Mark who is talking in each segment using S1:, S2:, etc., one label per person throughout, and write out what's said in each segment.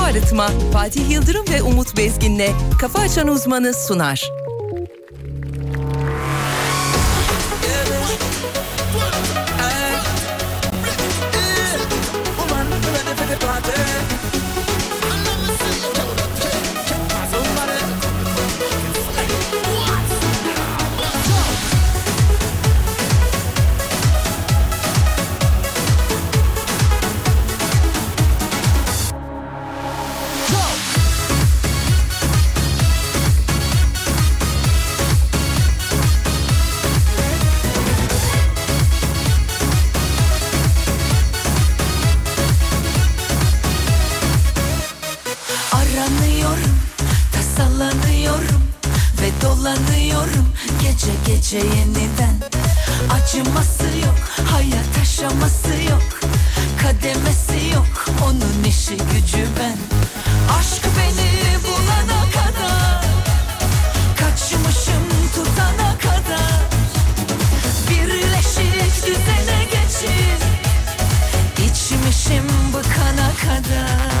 S1: Arıtma Fatih Yıldırım ve Umut Bezgin'le Kafa Açan Uzmanı sunar.
S2: Aranıyorum, tasalanıyorum ve dolanıyorum gece gece yeniden. Acıması yok, hayat aşaması yok, kademesi yok, onun işi gücü ben. Aşk beni bulana kadar, kaçmışım tutana kadar. Birleşik düzene geçir, içmişim bıkana kadar.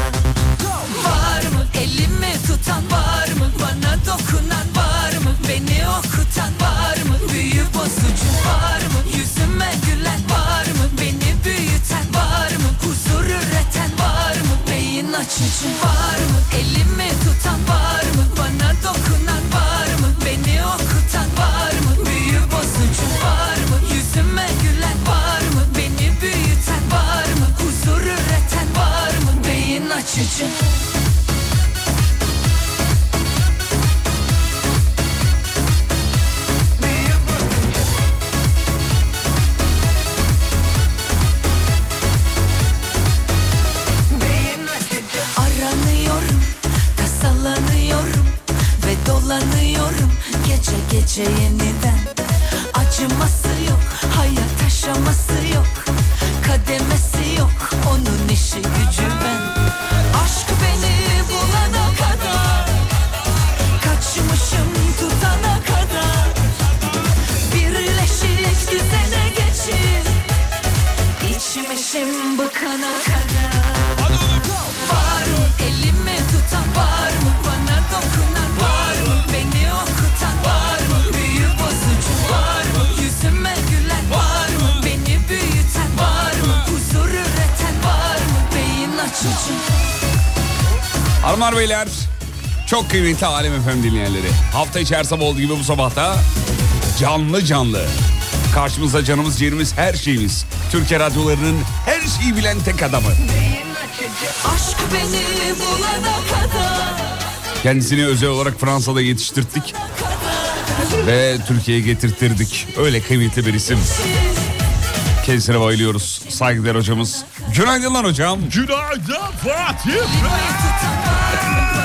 S2: Var mı elimi tutan var mı bana dokunan var mı beni okutan var mı büyü bozucu var mı yüzüme gülen var mı beni büyüten var mı huzur üreten var mı beyin açıcı var mı elimi tutan var mı bana dokunan var mı beni okutan var mı büyü bozucu var mı yüzüme gülen var mı beni büyüten var mı huzur üreten var mı beyin açıcı Aranıyorum, tasalanıyorum ve dolanıyorum gece gece yeniden. Acıması yok, hayat aşaması yok, kademesi yok, onun işi gücü ben. Aşk beni bulana kadar, kaçmışım tutana kadar. Birleşik düzene geçir, içmişim bıkana kadar. Var mı elimi tutan var mı bana dokunan var mı beni okutan var mı büyü bozucu var mı yüzüme gülen var mı beni büyüten var mı huzur üreten var mı beyin açıcı
S3: Hanımlar beyler çok kıymetli Alem Efem dinleyenleri. Hafta içi her sabah olduğu gibi bu sabahta canlı canlı. Karşımızda canımız, ciğerimiz, her şeyimiz. Türkiye radyolarının her şeyi bilen tek adamı.
S2: aşk beni bulana kadar
S3: Kendisini özel olarak Fransa'da yetiştirdik ve Türkiye'ye getirttirdik. Öyle kıymetli bir isim. Kendisine bayılıyoruz. Saygılar hocamız. Günaydınlar hocam.
S4: Günaydın Fatih.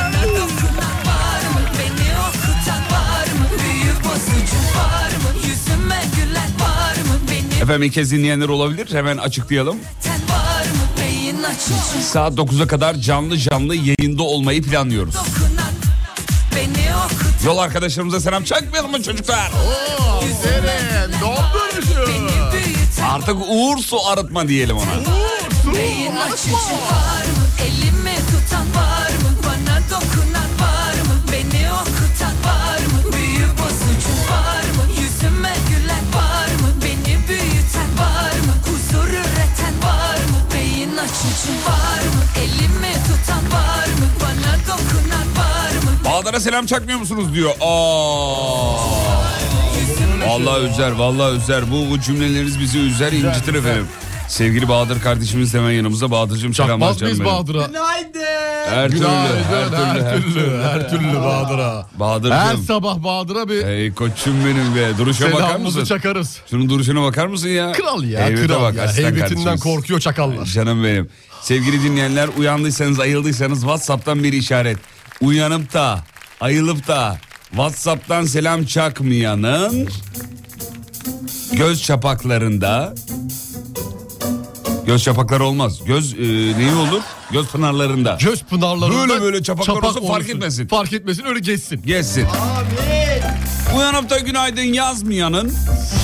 S2: var mı beni okutan var mı büyü bozucu var mı yüzüme gülen var mı beni
S3: Efendim ilk kez dinleyenler olabilir. Hemen açıklayalım.
S2: üreten var mı beyin açıcı
S3: Saat 9'a kadar canlı canlı yayında olmayı planlıyoruz.
S2: dokunan beni okutan
S3: Yol arkadaşlarımıza selam çakmayalım mı çocuklar?
S4: Oo, Seren, ne yapıyorsun?
S3: Artık Uğur Su Arıtma diyelim ona.
S2: Beyin açıcı var mı? Elimi tutan var mı? Bana dokunan var mı? Beni okutan var mı? Büyü bozucu var mı? Yüzüme gülen var mı? Beni büyüten var mı? Huzur üreten var mı? Beyin açıcı var mı? Elimi tutan var mı? Bana dokunan var mı?
S3: Bağdar'a selam çakmıyor musunuz diyor. Aa. Vallahi üzer, vallahi üzer. Bu, bu cümleleriniz bizi üzer, incitir efendim. Sevgili Bahadır kardeşimiz hemen yanımızda. Bahadır'cığım selamlar
S4: Çakmaz
S3: canım
S4: mıyız
S3: benim.
S4: Bahadır'a?
S3: Her türlü,
S4: Günaydın,
S3: her türlü, her türlü.
S4: her türlü Bahadır'a. Her
S3: Bahadır'cığım.
S4: sabah Bahadır'a bir
S3: Ey koçum benim be. Duruşa bakar
S4: selamımızı
S3: mısın?
S4: çakarız.
S3: Şunun duruşuna bakar mısın ya?
S4: Kral ya,
S3: Heybete
S4: kral
S3: bak,
S4: ya.
S3: aslan
S4: Heybetinden
S3: kardeşimiz.
S4: korkuyor çakallar.
S3: Canım benim. Sevgili dinleyenler uyandıysanız ayıldıysanız Whatsapp'tan bir işaret. Uyanıp da ayılıp da Whatsapp'tan selam çakmayanın göz çapaklarında göz çapakları olmaz. Göz e, neyi olur? Göz pınarlarında.
S4: Göz pınarlarında
S3: Böyle böyle çapaklar olsun, fark
S4: olursun.
S3: etmesin.
S4: Fark etmesin öyle geçsin.
S3: Geçsin. Uyanıp da günaydın yazmayanın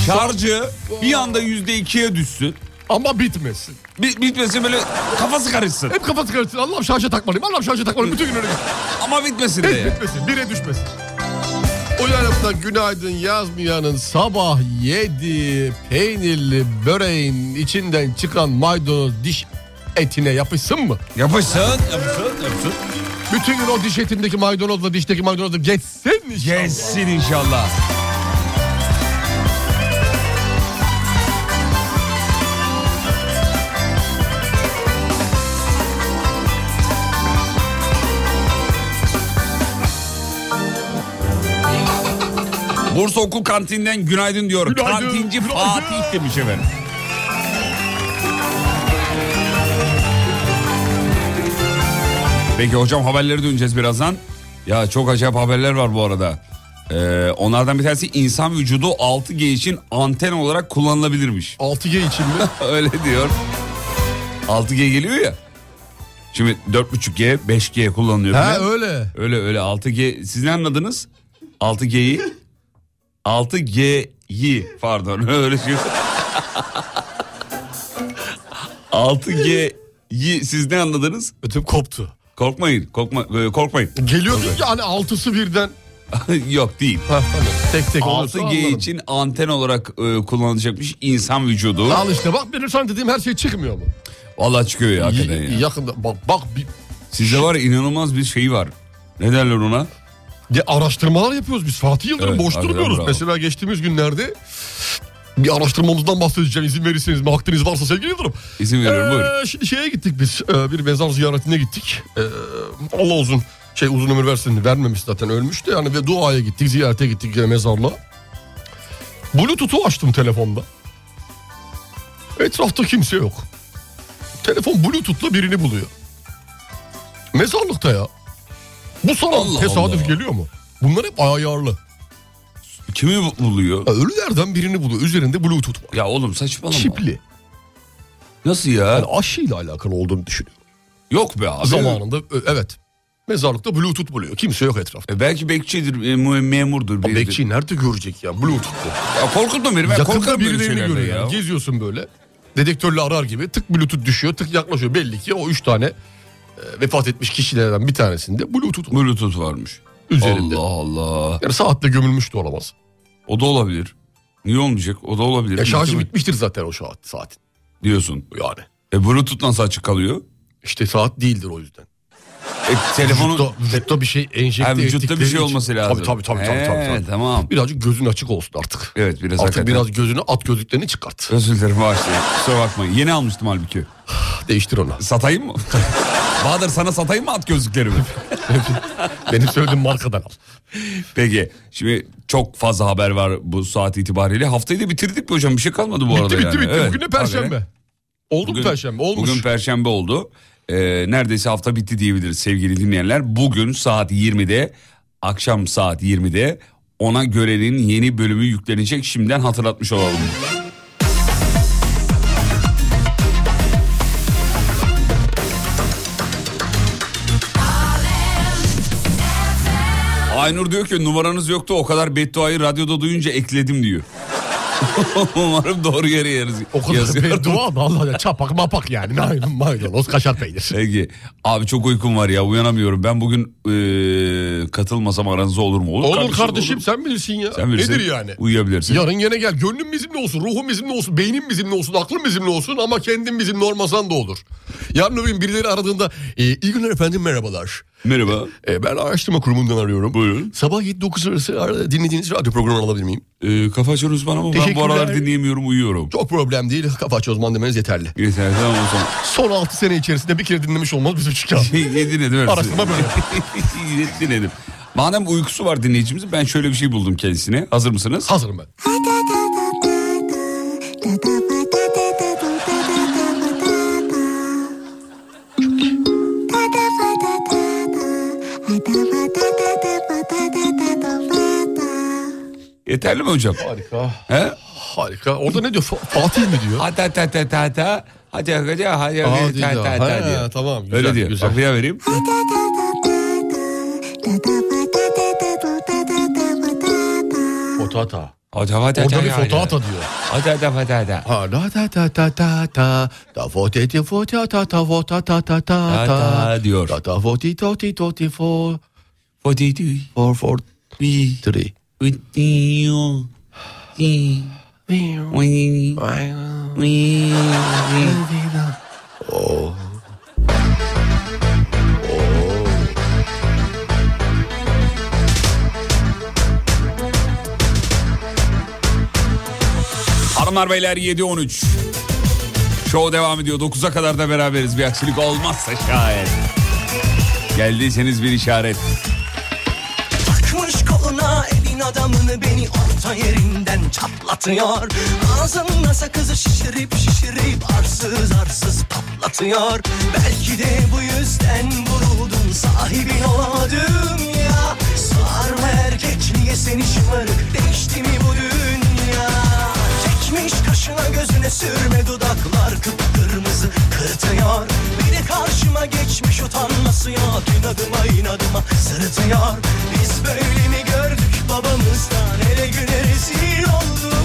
S3: şarjı bir anda yüzde ikiye düşsün.
S4: Ama bitmesin. E
S3: Bi- bitmesin böyle kafası karışsın.
S4: Hep kafası karışsın. Allah'ım şarja takmalıyım. Allah'ım şarja takmalıyım. Bütün gün öyle geçsin.
S3: Ama bitmesin de
S4: Hiç
S3: yani.
S4: bitmesin. Bire düşmesin. Uyanıp da günaydın yazmayanın sabah yedi peynirli böreğin içinden çıkan maydanoz diş etine yapışsın mı?
S3: Yapışsın, yapışsın, yapışsın.
S4: Bütün gün o diş etindeki maydanozla dişteki maydanozla geçsin inşallah.
S3: Gelsin inşallah. Bursa Okul Kantin'den günaydın diyor.
S4: Günaydın,
S3: Kantinci
S4: günaydın.
S3: Fatih demiş efendim. Peki hocam haberleri döneceğiz birazdan. Ya çok acayip haberler var bu arada. Ee, onlardan bir tanesi insan vücudu 6G için anten olarak kullanılabilirmiş.
S4: 6G için mi?
S3: Öyle diyor. 6G geliyor ya. Şimdi 4.5G, 5G kullanılıyor. Hani
S4: He
S3: falan.
S4: öyle.
S3: Öyle öyle 6G. Siz ne anladınız? 6G'yi. 6G'yi pardon öyle şey. 6G'yi siz ne anladınız?
S4: Ötüm koptu.
S3: Korkmayın, korkma, e, korkmayın.
S4: Geliyorsun ki hani altısı birden.
S3: Yok değil.
S4: Ha, hani tek tek olursa
S3: 6G
S4: anlarım.
S3: için anten olarak e, kullanılacakmış insan vücudu.
S4: Al işte bak benim sana dediğim her şey çıkmıyor mu?
S3: Vallahi çıkıyor ya hakikaten
S4: Y-
S3: ya.
S4: Yakında bak bak bir
S3: Sizde var ya, inanılmaz bir şey var. Ne derler ona?
S4: Ya araştırmalar yapıyoruz biz Fatih Yıldırım
S3: Evet,
S4: boş
S3: harbiden
S4: durmuyoruz.
S3: bravo.
S4: Mesela geçtiğimiz günlerde bir araştırmamızdan bahsedeceğim izin verirseniz mi hakkınız varsa sevgili Yıldırım.
S3: İzin veriyorum
S4: Ee,
S3: buyurun.
S4: Şimdi şeye gittik biz ee, bir mezar ziyaretine gittik. Ee, Allah uzun şey uzun ömür versin vermemiş zaten ölmüştü yani ve duaya gittik ziyarete gittik yine mezarla. Bluetooth'u açtım telefonda. Etrafta kimse yok. Telefon Bluetooth'la birini buluyor. Mezarlıkta ya. Bu sana
S3: Allah
S4: tesadüf
S3: Allah.
S4: geliyor mu? Bunlar hep ayarlı.
S3: Kimi bu- buluyor?
S4: Ya Ölülerden birini buluyor. Üzerinde Bluetooth var.
S3: Ya oğlum saçmalama.
S4: Çipli.
S3: Nasıl ya?
S4: Yani aşıyla alakalı olduğunu düşünüyorum.
S3: Yok be abi.
S4: Zamanında ö- evet. Mezarlıkta Bluetooth buluyor. Kimse yok etrafta.
S3: E, belki bekçidir, e, mu- memurdur. biridir.
S4: Bekçi nerede görecek ya Bluetooth'u?
S3: Ya korkutma beni ben
S4: Yakında
S3: korkarım böyle
S4: birilerini
S3: şeylerden
S4: görüyor.
S3: ya.
S4: yani. Geziyorsun böyle. Dedektörle arar gibi tık Bluetooth düşüyor tık yaklaşıyor. Belli ki o üç tane e, vefat etmiş kişilerden bir tanesinde Bluetooth var
S3: Bluetooth varmış.
S4: üzerinde.
S3: Allah Allah.
S4: Yani saatte gömülmüş de olamaz.
S3: O da olabilir. Niye olmayacak? O da olabilir.
S4: Ya şarjı
S3: Muhtemelen.
S4: bitmiştir zaten o saat, saatin
S3: Diyorsun.
S4: yani.
S3: E Bluetooth nasıl açık kalıyor?
S4: İşte saat değildir o yüzden.
S3: E, telefonu...
S4: Vücutta, vücutta bir şey enjekte
S3: Ha, vücutta bir
S4: ettikleri
S3: şey
S4: için-
S3: olması lazım.
S4: Tabii tabii tabii. tabii,
S3: He,
S4: tabii, tabii.
S3: tamam.
S4: Birazcık gözün açık olsun artık.
S3: Evet biraz
S4: artık
S3: hakikaten.
S4: biraz gözünü at gözlüklerini çıkart.
S3: Özür dilerim bağışlayın. Kusura bakmayın. Yeni almıştım halbuki.
S4: Değiştir onu.
S3: Satayım mı? Bahadır sana satayım mı at gözlüklerimi?
S4: Benim söylediğim markadan al.
S3: Peki şimdi çok fazla haber var bu saat itibariyle. Haftayı da bitirdik mi hocam? Bir şey kalmadı bu arada
S4: bitti bitti
S3: yani.
S4: bitti.
S3: Evet,
S4: Bugün de
S3: habere.
S4: perşembe. Oldu mu
S3: Bugün-
S4: perşembe? Olmuş.
S3: Bugün perşembe oldu. Ee, neredeyse hafta bitti diyebiliriz sevgili dinleyenler. Bugün saat 20'de, akşam saat 20'de ona görenin yeni bölümü yüklenecek. Şimdiden hatırlatmış olalım. Aynur diyor ki numaranız yoktu o kadar bedduayı radyoda duyunca ekledim diyor. Umarım doğru yere yeriz.
S4: O kadar
S3: yazıyor.
S4: beddua da Allah ya çapak mapak yani. Naylon, maydanoz, kaşar peynir.
S3: Peki. Abi çok uykum var ya uyanamıyorum. Ben bugün eee, katılmasam aranızda olur mu?
S4: Olur kardeşim, sen bilirsin ya.
S3: Sen bilirsin.
S4: Nedir yani?
S3: Uyuyabilirsin.
S4: Yarın gene gel. Gönlüm bizimle olsun, ruhum bizimle olsun, beynim bizimle olsun, aklım bizimle olsun ama kendim bizimle olmasan da olur. Yarın öbür gün birileri aradığında e, iyi günler efendim merhabalar.
S3: Merhaba.
S4: E, ben araştırma kurumundan arıyorum.
S3: Buyurun.
S4: Sabah 7-9 arası ara- dinlediğiniz radyo programını alabilir miyim?
S3: Eee Ee, kafa açan uzman ama ben bu
S4: Teşekkürler.
S3: aralar dinleyemiyorum uyuyorum.
S4: Çok problem değil. Kafa aç uzman demeniz yeterli.
S3: Yeter tamam o zaman.
S4: Son 6 sene içerisinde bir kere dinlemiş olmaz bizim için. kağıt.
S3: Yedin edim. hepsini.
S4: Araştırma böyle.
S3: Yedin edim. Madem uykusu var dinleyicimizin ben şöyle bir şey buldum kendisine. Hazır mısınız?
S4: Hazırım ben.
S3: Yeterli mi hocam?
S4: Harika.
S3: He?
S4: Harika. Orada ne diyor? Fa- Fatih mi diyor?
S3: Hata ta ta ta ta. Hadi hadi hadi
S4: Aa,
S3: hadi
S4: değil
S3: ta
S4: ya.
S3: ta ta
S4: He,
S3: diyor.
S4: tamam, güzel,
S3: Öyle diyor.
S4: güzel.
S3: Bak bir daha vereyim.
S4: Potata.
S3: Hadi hadi hadi.
S4: Orada bir
S3: hadi,
S4: foto
S3: hadi.
S4: ata diyor.
S3: Hadi hadi hadi hadi.
S4: Ha la ta ta ta ta ta ta fo te te fo ta ta ta fo ta ta ta ta
S3: Ta ta diyor.
S4: ta ta fo ti to ti to ti fo
S3: Hadi, hadi.
S4: four four
S3: Bir,
S4: three.
S3: iki, iki, iki, iki. Hanımlar beyler 7.13. Show devam ediyor. 9'a kadar da beraberiz. Bir aksilik olmazsa şayet. Geldiyseniz bir işaret.
S5: Takmış koluna evin adamını beni orta yerinden çatlatıyor Ağzımda sakızı şişirip şişirip arsız arsız patlatıyor Belki de bu yüzden vuruldum sahibin olamadım ya Sarma erkek niye seni şımarık değişti mi bu dünya Çekmiş kaşına gözüne sürme dudaklar kıpkırmızı kırtıyor Beni karşıma geçmiş utanması yok inadıma inadıma sırıtıyor Biz böyle mi gördük babamızdan hele güne rezil olduk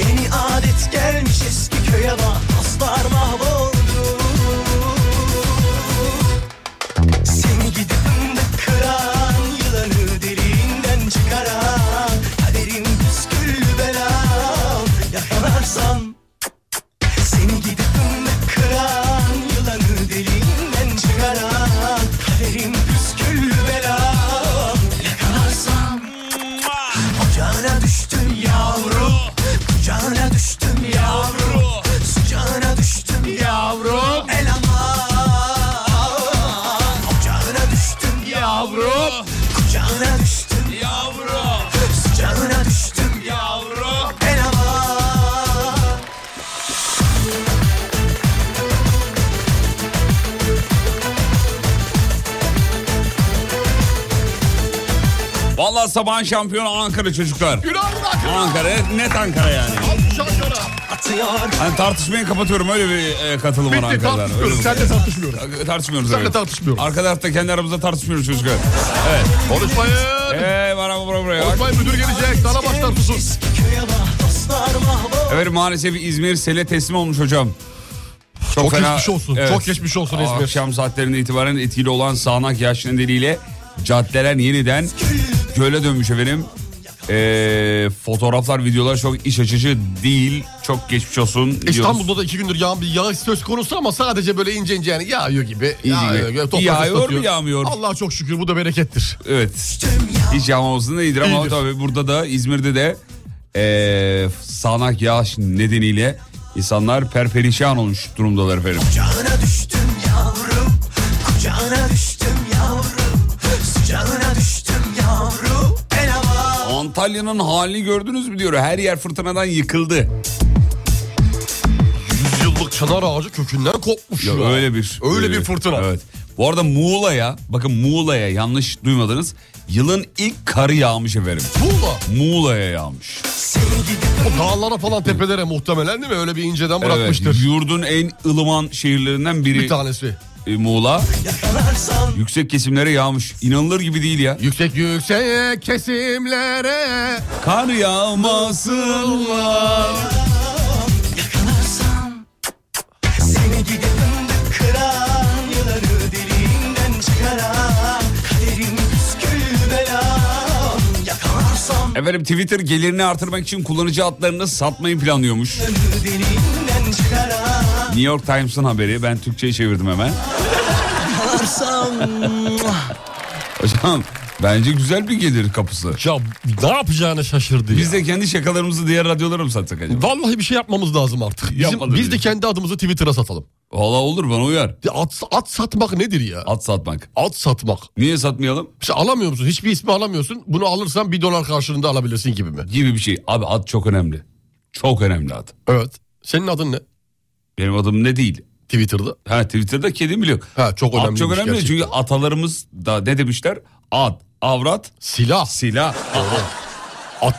S5: Yeni adet gelmiş eski köye bak dostlar mahvoldu Seni gidip de kıran Yılanı deliğinden çıkaran Kaderim püsküllü belam Yakalarsan Seni gidip de kıran Yılanı deliğinden çıkaran Kaderim püsküllü belam Yakalarsan Ocağına düştüm yavrum Kucağına düştüm yavrum Sıcağına düştüm yavrum El aman Ocağına düştüm yavrum Kucağına düştüm yavrum Sıcağına düştüm yavrum El aman
S3: Vallahi sabahın şampiyonu Ankara çocuklar.
S4: Günaydın Ankara.
S3: Ankara net Ankara yani.
S4: Alkış Ankara.
S5: Atıyor
S3: Hani tartışmayı kapatıyorum öyle bir e, katılım var
S4: Bitti
S3: Ankara'dan.
S4: tartışmıyoruz. Sen de tartışmıyoruz.
S3: tartışmıyoruz.
S4: Sen de
S3: evet.
S4: tartışmıyoruz.
S3: Arka tarafta kendi aramızda tartışmıyoruz çocuklar. Evet.
S4: Konuşmayın.
S3: Eee bana bura buraya bak.
S4: Konuşmayın müdür gelecek. Dana başlar pusun.
S5: Eski köye bak dostlar mahvol
S3: Evet maalesef İzmir sele teslim olmuş hocam.
S4: Çok
S3: fena-
S4: geçmiş olsun.
S3: Evet.
S4: Çok geçmiş olsun İzmir.
S3: Akşam saatlerinden itibaren etkili olan sağanak yağış nedeniyle caddeler yeniden göle dönmüş efendim. Ee, fotoğraflar, videolar çok iç açıcı değil. Çok geçmiş olsun. diyoruz.
S4: İstanbul'da da iki gündür yağan bir yağış söz konusu ama sadece böyle ince ince yani yağıyor gibi. Yağıyor,
S3: gibi.
S4: gibi. Toprak
S3: Yağıyor mu,
S4: ıslatıyor.
S3: yağmıyor mu?
S4: Allah'a çok şükür bu da berekettir.
S3: Evet.
S5: düştüm yavrum
S3: Hiç yağmamasında iyidir ama
S4: İyidir.
S3: tabii burada da İzmir'de de eee sağanak yağış nedeniyle insanlar perperişan olmuş durumdalar efendim.
S5: Kucağına düştüm yavrum Kucağına düştüm yavrum Sıcağına düştüm yavrum El hava
S3: Antalya'nın halini gördünüz mü diyor. Her yer fırtınadan yıkıldı.
S4: Yüzyıllık çınar ağacı kökünden kopmuş
S3: Ya
S4: ya.
S3: öyle bir
S4: Öyle
S3: e,
S4: bir fırtına.
S3: Evet. Bu arada Muğla'ya bakın Muğla'ya yanlış duymadınız. Yılın ilk karı yağmış efendim.
S4: Muğla.
S3: Muğla'ya yağmış.
S5: Seni gidip
S4: O dağlara falan tepelere muhtemelen değil mi? Öyle bir inceden
S3: Evet,
S4: bırakmıştır.
S3: yurdun en ılıman şehirlerinden biri
S4: Bir tanesi.
S3: e, Muğla.
S5: yakalarsan
S3: Yüksek kesimlere yağmış. İnanılır gibi değil ya.
S4: Yüksek yüksek kesimlere
S3: Kar yağmasınlar.
S5: Yakalarsan Seni gidip de kıran Yıları deliğinden çıkaran Kaderim püskül belam Yakalarsam
S3: Efendim Twitter gelirini artırmak için kullanıcı adlarını satmayı planlıyormuş.
S5: Yıları deliğinden çıkaran
S3: New York Times'ın haberi. Ben Türkçe'ye çevirdim hemen.
S5: Yakalarsam
S3: Hocam bence güzel bir gelir kapısı.
S4: Ya ne yapacağını şaşırdı ya.
S3: Biz de kendi şakalarımızı diğer radyolara mı satsak acaba?
S4: Vallahi bir şey yapmamız lazım artık. Bizim-
S3: Yapmadım
S4: biz de
S3: diyor.
S4: kendi adımızı Twitter'a satalım.
S3: Valla olur bana uyar.
S4: Ya At, at satmak nedir ya?
S3: At satmak.
S4: At satmak.
S3: Niye satmayalım?
S4: İşte alamıyor musun? Hiçbir ismi alamıyorsun. Bunu alırsan bir dolar karşılığında alabilirsin gibi mi?
S3: Gibi bir şey. Abi at çok önemli. Çok önemli at.
S4: Evet. Senin adın ne?
S3: Benim adım ne değil.
S4: Twitter'da.
S3: Ha Twitter'da kedim biliyor.
S4: Ha çok önemli.
S3: At çok önemli çünkü atalarımız da ne demişler? At, avrat,
S4: silah.
S3: silah.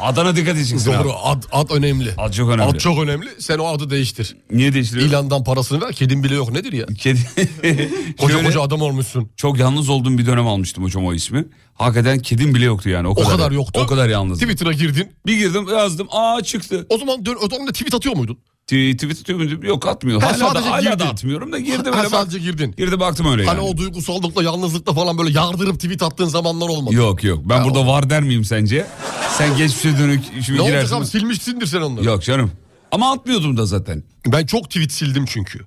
S3: Adana dikkat edeceksin abi.
S4: Doğru ad, ad önemli.
S3: Ad çok önemli.
S4: Ad çok önemli. Sen o adı değiştir.
S3: Niye değiştiriyorsun?
S4: İlandan parasını ver. Kedin bile yok. Nedir ya?
S3: Kedi.
S4: Koca
S3: Şöyle,
S4: koca adam olmuşsun.
S3: Şey Çok yalnız olduğum bir dönem almıştım hocam o ismi. Hakikaten kedim bile yoktu yani. O
S4: O
S3: kadar,
S4: kadar, yoktu.
S3: O kadar yalnız.
S4: Twitter'a girdin.
S3: Bir girdim yazdım aa çıktı.
S4: O zaman dön, o zaman da tweet atıyor muydun?
S3: T- Tweet atıyor muyum? Yok atmıyor.
S4: Ha,
S3: hala
S4: sadece
S3: da, hala
S4: girdin.
S3: da atmıyorum da girdim.
S4: Ha,
S3: öyle bak-
S4: sadece girdin.
S3: Girdi baktım öyle
S4: Hani
S3: yani.
S4: o duygusallıkla, yalnızlıkla falan böyle yardırıp tweet attığın zamanlar olmadı.
S3: Yok yok ben burada var der miyim sence? Sen geçmişe dönük şimdi
S4: ne olacak
S3: girersin.
S4: abi silmişsindir sen onları.
S3: Yok canım. Ama atmıyordum da zaten.
S4: Ben çok tweet sildim çünkü.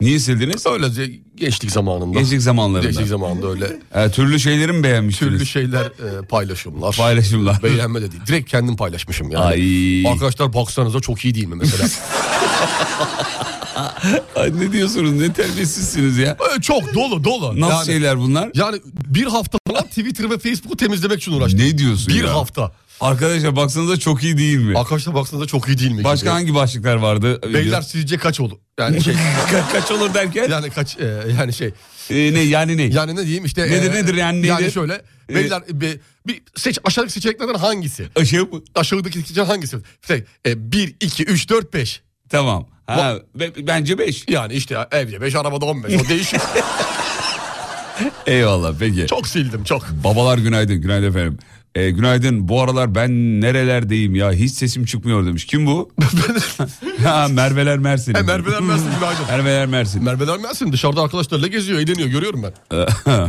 S3: Niye sildiniz?
S4: Öyle ze- gençlik zamanında.
S3: Gençlik zamanlarında.
S4: Gençlik zamanında öyle
S3: Ee, türlü şeyleri mi beğenmiştiniz?
S4: türlü şeyler e, paylaşımlar.
S3: Paylaşımlar.
S4: Beğenme de değil. Direkt kendim paylaşmışım yani.
S3: Ay.
S4: Arkadaşlar baksanıza çok iyi değil mi mesela?
S3: Ay, ne diyorsunuz ne terbiyesizsiniz ya.
S4: Ee, çok dolu dolu.
S3: Nasıl
S4: yani,
S3: şeyler bunlar?
S4: Yani bir hafta falan Twitter ve Facebook'u temizlemek için uğraştım.
S3: Ne diyorsun
S4: bir
S3: ya?
S4: hafta.
S3: Arkadaşlar baksanıza çok iyi değil mi?
S4: Arkadaşlar baksanıza çok iyi değil mi?
S3: Başka
S4: gibi?
S3: hangi başlıklar vardı?
S4: Beyler sizce kaç olur? Yani şey
S3: Ka- kaç olur derken?
S4: yani kaç e, yani şey
S3: Ee, ne yani ne?
S4: yani ne diyeyim işte e,
S3: Nedir, nedir yani, nedir?
S4: şöyle
S3: Ee,
S4: beyler be- bir seç aşağıdaki seçeneklerden hangisi?
S3: Aşağı mı?
S4: Aşağıdaki seçenek hangisi? Şey, e, 1 2 3 4 5.
S3: Tamam. Ha, be- bence 5.
S4: Yani işte evde 5 arabada 15. O değişik.
S3: Eyvallah peki.
S4: çok sildim çok.
S3: Babalar günaydın. Günaydın efendim. Ee, günaydın. Bu aralar ben nerelerdeyim ya? Hiç sesim çıkmıyor demiş. Kim bu? ha, Merveler Mersin.
S4: He, Merveler Mersin, günaydın.
S3: Merveler Mersin.
S4: Merve'den Mersin dışarıda arkadaşlarla geziyor, eğleniyor görüyorum ben.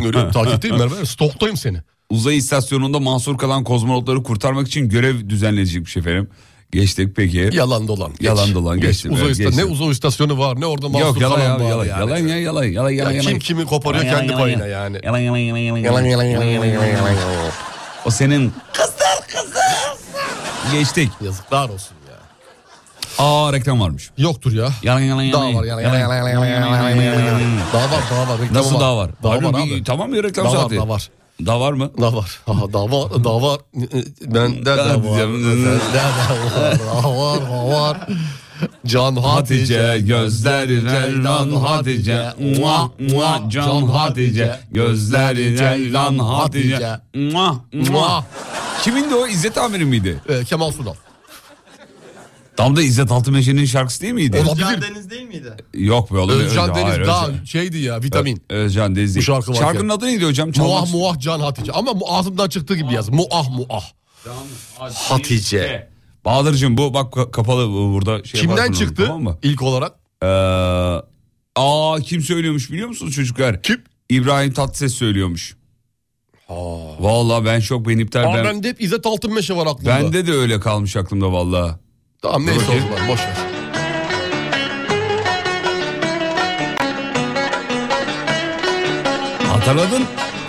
S4: görüyorum takipteyim Merve. Stoktayım seni.
S3: Uzay istasyonunda mahsur kalan kozmonotları kurtarmak için görev düzenleyecekmiş efendim. Geçtik peki.
S4: Yalan dolan. geç.
S3: Yalan dolan, geçtim,
S4: Uzay
S3: evet,
S4: ista-
S3: geçtim.
S4: Ne uzay istasyonu var ne orada mahsur
S3: Yok yalan
S4: falan
S3: abi,
S4: var
S3: yalan,
S4: yani.
S3: yalan ya yalan yalan yalan
S4: Ya
S3: yalan.
S4: kim kimi koparıyor
S3: Yalan,
S4: kendi
S3: yalan,
S4: payına
S3: yalan.
S4: yani.
S3: Yalan yalan yalan yalan.
S4: Yalan yalan yalan yalan yalan yalan yalan.
S3: O senin. Kızlar kızlar. Geçtik.
S4: Yazıklar olsun ya.
S3: Aa reklam varmış.
S4: Yoktur ya.
S3: Yalan yalan yalan.
S4: Daha var yalan yalan yalan yalan yalan yalan yalan yalan. Daha var daha var. reklamı
S3: Nasıl daha var?
S4: Daha
S3: Harbi
S4: var
S3: bir-
S4: abi.
S3: Tamam ya reklam
S4: Daha var,
S3: saati.
S4: daha var.
S3: Daha var mı?
S4: Daha var. Aha, daha var. Daha var. e, Ben de
S3: Daha
S4: daha var.
S3: diyeceğim.
S4: Ben de daha var. Daha var. Daha var. Can
S3: Hatice
S4: Hatice
S3: gözleri lan Hatice muah muah can Hatice gözleri lan Hatice muah muah. Kimin de o İzzet Amiri miydi?
S4: Ee, Kemal Sunal.
S3: Tam da İzzet Altınmeşe'nin şarkısı değil miydi?
S4: Olabilir.
S6: Deniz değil miydi?
S3: Yok be oğlum.
S4: Özcan
S3: Hayır,
S4: Deniz
S3: Özcan.
S4: daha şeydi ya vitamin.
S3: Özcan Deniz. değil.
S4: Bu şarkı var
S3: Şarkının
S4: ya.
S3: adı neydi hocam? Çalmak-
S4: Muah muah Can Hatice. Ama mu- ağzımdan çıktığı gibi yaz. Muah muah. Hatice.
S3: Bahadır'cığım bu bak ka- kapalı bu burada. Şey
S4: Kimden
S3: yaparsın onu,
S4: çıktı
S3: Tamam mı?
S4: ilk olarak?
S3: Ee, aa kim söylüyormuş biliyor musunuz çocuklar?
S4: Kim?
S3: İbrahim Tatlıses söylüyormuş. Vallahi ben şok ben iptal
S4: Aa,
S3: ben.
S4: bende hep İzzet Altınmeşe var aklımda.
S3: Bende de öyle kalmış aklımda vallahi.
S4: Tamam neyse
S3: Doğru.
S4: o zaman boş ver.
S3: Hatırladın?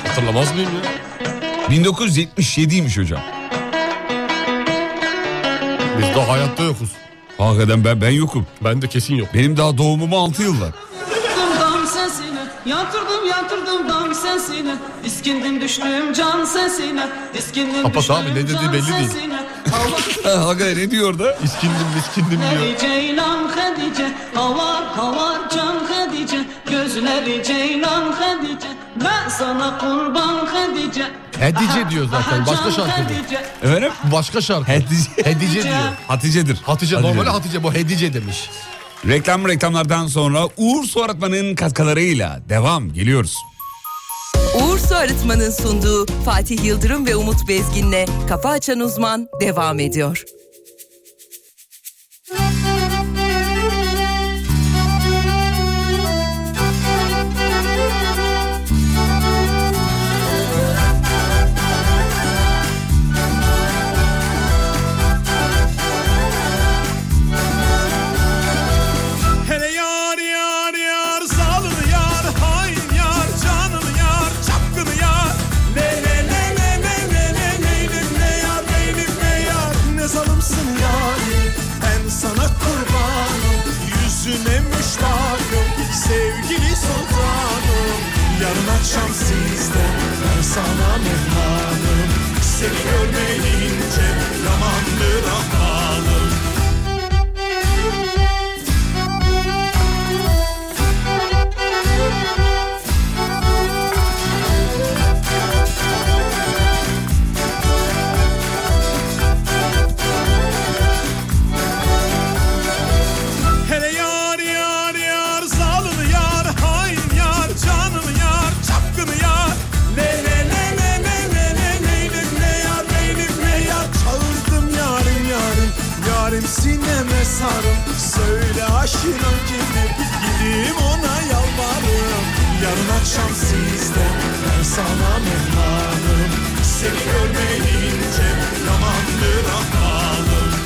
S4: Hatırlamaz mıyım ya?
S3: 1977'ymiş hocam.
S4: Biz daha hayatta yokuz.
S3: Hakikaten ben ben yokum.
S4: Ben de kesin yok.
S3: Benim daha doğumuma 6 yıl var.
S5: Yatırdım dam sesine Yatırdım yatırdım dam sesine Diskindim düştüm can sesine Diskindim
S4: Kapat
S5: düştüm
S4: abi, ne dediği
S5: can
S4: belli değil.
S5: sesine Hava
S3: Ha, Hakikaten ne diyor orada?
S4: İskindim miskindim diyor.
S5: Gözleri ceylan Hadice Havar havar can Hadice Gözleri ceylan Hadice Ben sana kurban Hadice
S4: Hedice diyor zaten.
S5: Aha,
S4: Başka
S5: can
S4: şarkı bu.
S5: Hadice.
S3: Efendim?
S4: Başka şarkı.
S3: Hatice.
S4: Hedice diyor.
S3: Hatice'dir.
S4: Hatice
S3: Hatice'dir.
S4: normalde Hatice bu Hedice demiş.
S3: Reklam reklamlardan sonra Uğur Su Arıtma'nın katkılarıyla devam geliyoruz.
S1: Uğur Su Arıtma'nın sunduğu Fatih Yıldırım ve Umut Bezgin'le Kafa Açan Uzman devam ediyor.
S7: Hele yar yar yar salını yar hain yar canını yar çapkını yar Ne ne ne ne ne ne ne neylim ne yar neylim ne yar Ne zalımsın yarim ben sana kurbanım Yüzüne müştakım sevgili sultanım Yarın akşam sizde ben sana mehmanım Seni görmeyince yamandır ahmanım sarım Söyle aşina kimi Gideyim ona yalvarırım Yarın akşam sizde Ben sana mehmanım Seni görmeyince Yamandır ahmalım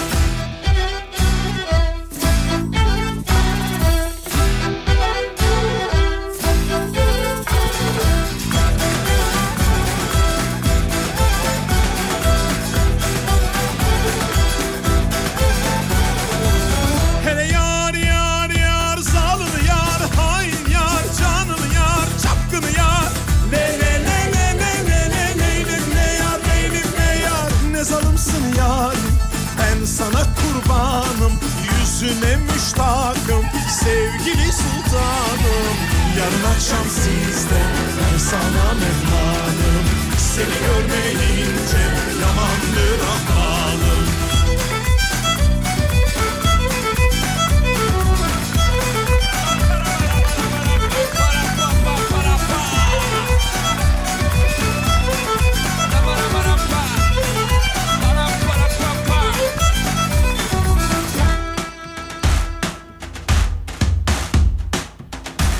S7: Hele yar yar yar zalın yar hain yar canın yar çapkın yar ne ne ne ne ne ne ne neylim ne yar neylim ne yar ne zalımsın yar ben sana kurbanım yüzüne müştakım sevgili sultanım yarın akşam sizde ben sana mehmanım seni görmeyince yamandır ahmalım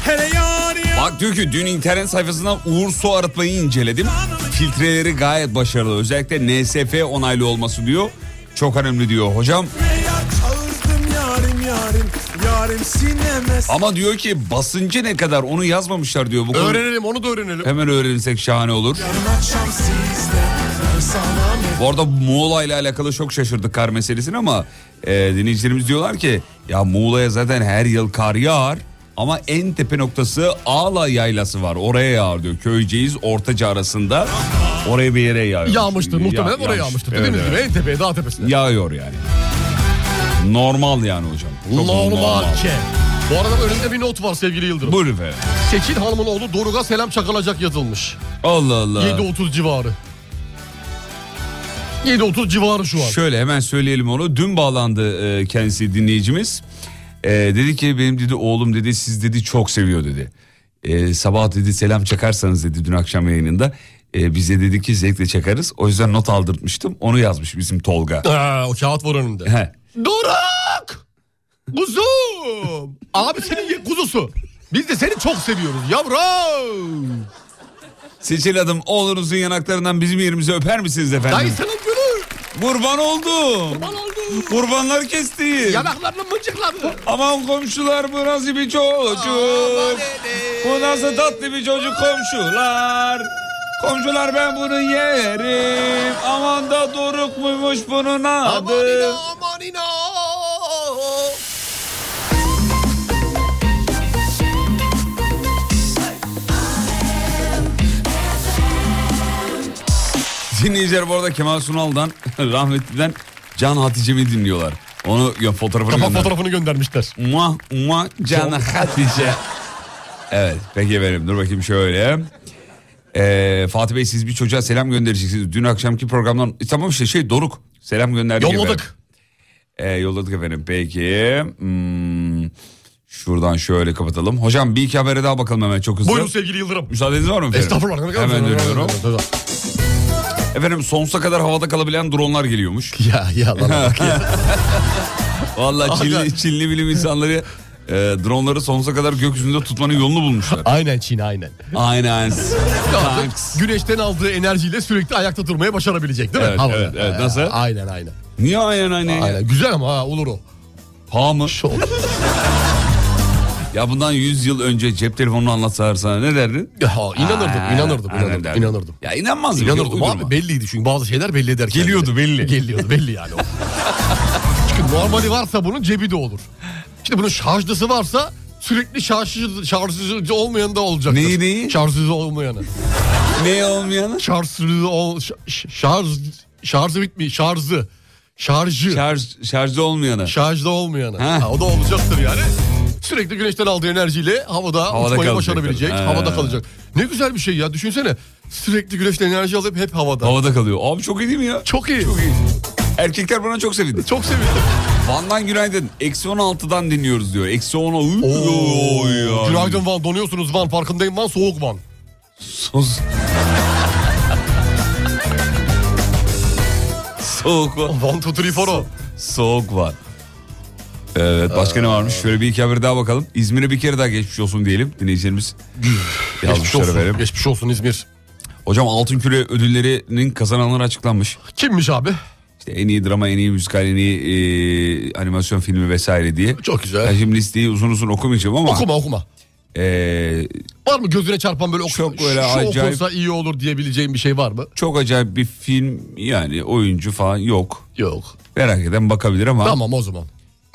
S7: Hele yar yar
S3: Bak diyor ki dün internet sayfasından Uğur Su arıtmayı inceledim. Filtreleri gayet başarılı. Özellikle NSF onaylı olması diyor. Çok önemli diyor hocam.
S7: Yar çağırdım yarim yarim Yarim sineme
S3: Ama diyor ki basıncı ne kadar onu yazmamışlar diyor. Bu konu-
S4: Öğrenelim onu da öğrenelim.
S3: Hemen öğrenirsek şahane olur.
S7: Yarın akşam sizde Ben sana me-
S3: Bu arada Muğla ile alakalı çok şaşırdık kar meselesine ama e, dinleyicilerimiz diyorlar ki ya Muğla'ya zaten her yıl kar yağar ama en tepe noktası Ağla Yaylası var. Oraya yağar diyor. Köyceğiz Ortaca arasında oraya bir yere yağıyor.
S4: Yağmıştır
S3: Ya-
S4: muhtemelen oraya
S3: yağmış.
S4: yağmıştır.
S3: Evet,
S4: Dediğimiz
S3: evet.
S4: gibi en tepeye dağ tepesine.
S3: Yağıyor yani. Normal yani hocam. Çok
S4: Normal ki. Bu arada önümde bir not var sevgili Yıldırım.
S3: Buyurun efendim.
S4: Seçil Hanım'ın oğlu Doruk'a selam çakılacak yazılmış.
S3: Allah Allah.
S4: 7.30 civarı. 7.30 civarı şu an.
S3: Şöyle hemen söyleyelim onu. Dün bağlandı e, kendisi dinleyicimiz. E, dedi ki benim dedi oğlum dedi siz dedi çok seviyor dedi. E, sabah dedi selam çakarsanız dedi dün akşam yayınında. E, bize dedi ki zevkle çakarız. O yüzden not aldırtmıştım. Onu yazmış bizim Tolga.
S4: Ha, o kağıt var önünde.
S3: He.
S4: Doruk! Kuzum! Abi senin ye- kuzusu. Biz de seni çok seviyoruz yavrum.
S3: Seçil adım oğlunuzun yanaklarından bizim yerimizi öper misiniz efendim?
S4: Dayı senin gülü.
S3: Kurban oldum.
S4: Bal oldu.
S3: Kurbanlar kesti.
S4: Yanaklarını mıncıkladı.
S3: Aman komşular bu nasıl bir çocuk? Bu nasıl tatlı bir çocuk komşular? Komşular ben bunu yerim. Aman da doruk muymuş bunun
S4: Aman
S3: adı?
S4: ina aman ina.
S3: Dinleyiciler bu arada Kemal Sunal'dan, rahmetliden Can Hatice'mi dinliyorlar. Onu ya, fotoğrafını
S4: Kapak
S3: gönder.
S4: fotoğrafını göndermişler.
S3: Muah muah Can Hatice. Evet peki efendim dur bakayım şöyle. Ee, Fatih Bey siz bir çocuğa selam göndereceksiniz. Dün akşamki programdan E, tamam işte şey Doruk selam gönderdik efendim.
S4: Yolladık.
S3: Ee, yolladık efendim. Peki. Hmm, şuradan şöyle kapatalım. Hocam bir iki habere daha bakalım hemen çok hızlı.
S4: Buyurun sevgili Yıldırım.
S3: Müsaadeniz var mı efendim?
S4: Estağfurullah. ne kadar
S3: Hemen
S4: güzel.
S3: dönüyorum. Efendim sonsuza kadar havada kalabilen dronlar geliyormuş.
S4: Ya ya lan bak ya.
S3: Vallahi Çinli, Çinli bilim insanları e, dronları sonsuza kadar gökyüzünde tutmanın yolunu bulmuşlar.
S4: Aynen Çin aynen.
S3: Aynen. Thanks.
S4: Güneşten aldığı enerjiyle sürekli ayakta durmayı başarabilecek değil mi?
S3: Evet,
S4: Havada.
S3: evet, evet. Nasıl?
S4: Aynen aynen.
S3: Niye aynen aynen?
S4: Aynen. Güzel ama ha, olur o.
S3: Paha mı?
S4: Şu
S3: Ya bundan 100 yıl önce cep telefonunu anlatsalar sana ne derdin?
S4: Ha, inanırdım,
S3: Aa,
S4: inanırdım,
S3: aynen
S4: inanırdım,
S3: derdin.
S4: inanırdım.
S3: Ya inanmazdım.
S4: İnanırdım
S3: Uydurma.
S4: abi belliydi çünkü bazı şeyler belli eder. kendini.
S3: Geliyordu, belli.
S4: Geliyordu belli yani. o. çünkü normali varsa bunun cebi de olur. İşte bunun şarjlısı varsa sürekli şarjlı, şarjlı olmayan da olacak.
S3: Neyi, neyi?
S4: Şarjlı olmayanı.
S3: Ne olmayanı?
S4: Şarjlı ol, ş- şarj, şarjı bitmiyor, şarjı. Şarjı.
S3: Şarj, şarjda olmayanı.
S4: Şarjda olmayanı.
S3: Ha.
S4: Ha, o da olacaktır yani. Sürekli güneşten aldığı enerjiyle havada,
S3: Havada
S4: uçmayı
S3: kalacak.
S4: başarabilecek,
S3: Ha.
S4: havada kalacak. Ne güzel bir şey ya düşünsene. Sürekli güneşten enerji alıp hep havada.
S3: Havada kalıyor. Abi çok iyi değil mi ya?
S4: Çok iyi. Çok iyi.
S3: Erkekler buna çok sevindi.
S4: Çok sevindim.
S3: Van'dan günaydın. Eksi 16'dan dinliyoruz diyor. Eksi 10'a.
S4: Oo,
S3: Oy, ya.
S4: Günaydın Van donuyorsunuz Van farkındayım Van soğuk Van.
S3: Sus. Soğuk var.
S4: Van tutri foro.
S3: Soğuk var. Evet başka ne varmış? Şöyle bir iki haber daha bakalım. İzmir'e bir kere daha geçmiş olsun diyelim dinleyicilerimiz.
S4: Geçmiş
S3: Yazmışlar
S4: olsun.
S3: efendim.
S4: Geçmiş olsun İzmir.
S3: Hocam Altın Küre ödüllerinin kazananları açıklanmış.
S4: Kimmiş abi?
S3: İşte en iyi drama, en iyi müzikal, en iyi e, animasyon filmi vesaire diye.
S4: Çok güzel.
S3: Ben şimdi listeyi uzun uzun okumayacağım ama
S4: Okuma okuma.
S3: e,
S4: Var mı gözüne çarpan böyle oku,
S3: Çok
S4: şu-
S3: böyle
S4: şu
S3: acayip-
S4: okunsa iyi olur diyebileceğim bir şey var mı?
S3: çok acayip bir film yani oyuncu falan yok.
S4: Yok.
S3: Merak eden bakabilir ama
S4: Tamam o zaman.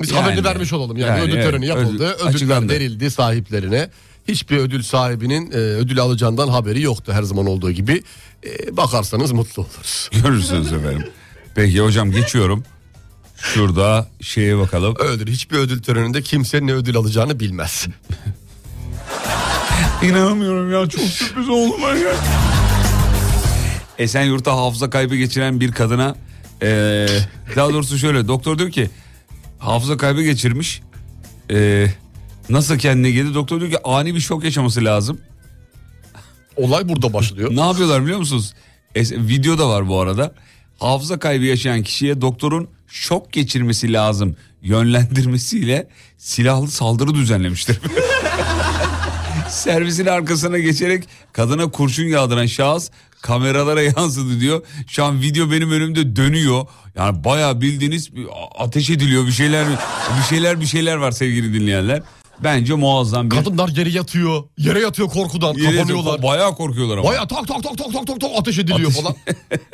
S4: Biz
S3: Yani-
S4: haberini vermiş olalım yani,
S3: yani
S4: ödül
S3: evet,
S4: töreni yapıldı.
S3: ödül-
S4: ödüller
S3: açıklandı.
S4: verildi sahiplerine. Hiçbir ödül sahibinin e, ödül alacağından haberi yoktu her zaman olduğu gibi. E, bakarsanız mutlu oluruz.
S3: görürsünüz efendim. Peki hocam geçiyorum. Şurada şeye bakalım.
S4: Ödül hiçbir ödül töreninde kimsenin ne ödül alacağını bilmez.
S3: İnanamıyorum ya çok sürpriz oldum ben ya. Esenyurt'ta hafıza kaybı geçiren bir kadına eee, daha doğrusu şöyle doktor diyor ki hafıza kaybı geçirmiş Eee, nasıl kendine geldi doktor diyor ki ani bir şok yaşaması lazım.
S4: Olay burada başlıyor.
S3: Ne yapıyorlar biliyor musunuz? Es- video da var bu arada. Hafıza kaybı yaşayan kişiye doktorun şok geçirmesi lazım yönlendirmesiyle silahlı saldırı düzenlemiştir. Servisin arkasına geçerek kadına kurşun yağdıran şahıs kameralara yansıdı diyor. Şu an video benim önümde dönüyor. Yani bayağı bildiğiniz bir a- ateş ediliyor bir şeyler bir şeyler bir şeyler var sevgili dinleyenler. Bence muazzam bir...
S4: Kadınlar yere yatıyor. Yere yatıyor korkudan. kapanıyorlar.
S3: Bayağı korkuyorlar ama.
S4: Baya tak tak tak tak tak tak tak ateş ediliyor
S3: Ateş-
S4: falan.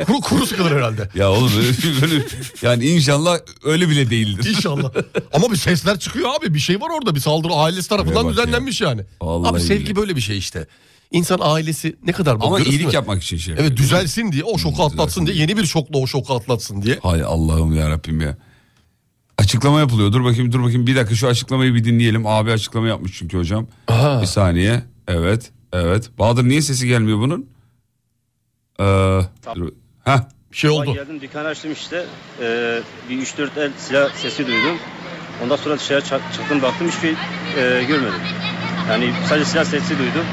S4: kuru kuru sıkılır herhalde.
S3: Ya oğlum öyle- öyle- yani inşallah öyle şey bile değildir.
S4: İnşallah. Ama bir sesler çıkıyor abi. Bir şey var orada. Bir saldırı ailesi tarafından
S3: Şuraya bak
S4: düzenlenmiş yani.
S3: Vallahi
S4: abi sevgi
S3: billahi.
S4: böyle bir şey işte. İnsan ailesi ne kadar
S3: Ama
S4: görürsün
S3: iyilik
S4: mü?
S3: yapmak için şey.
S4: Evet düzelsin diye, o şoku
S3: düzelsin
S4: atlatsın diye, yeni bir şokla o şoku atlatsın diye.
S3: Hay Allah'ım ya Rabbim ya. Açıklama yapılıyor. Dur bakayım dur bakayım bir dakika şu açıklamayı bir dinleyelim. Abi açıklama yapmış çünkü hocam.
S4: Aha.
S3: Bir saniye. Evet. Evet. Bahadır niye sesi gelmiyor bunun? Ee, dur- Heh.
S4: Bir şey
S8: Sabah
S4: oldu.
S8: Geldim dükkanı açtım işte. Ee, bir 3-4 el silah sesi duydum. Ondan sonra dışarı çı- çıktım baktım hiçbir e, görmedim. Yani sadece silah sesi duydum.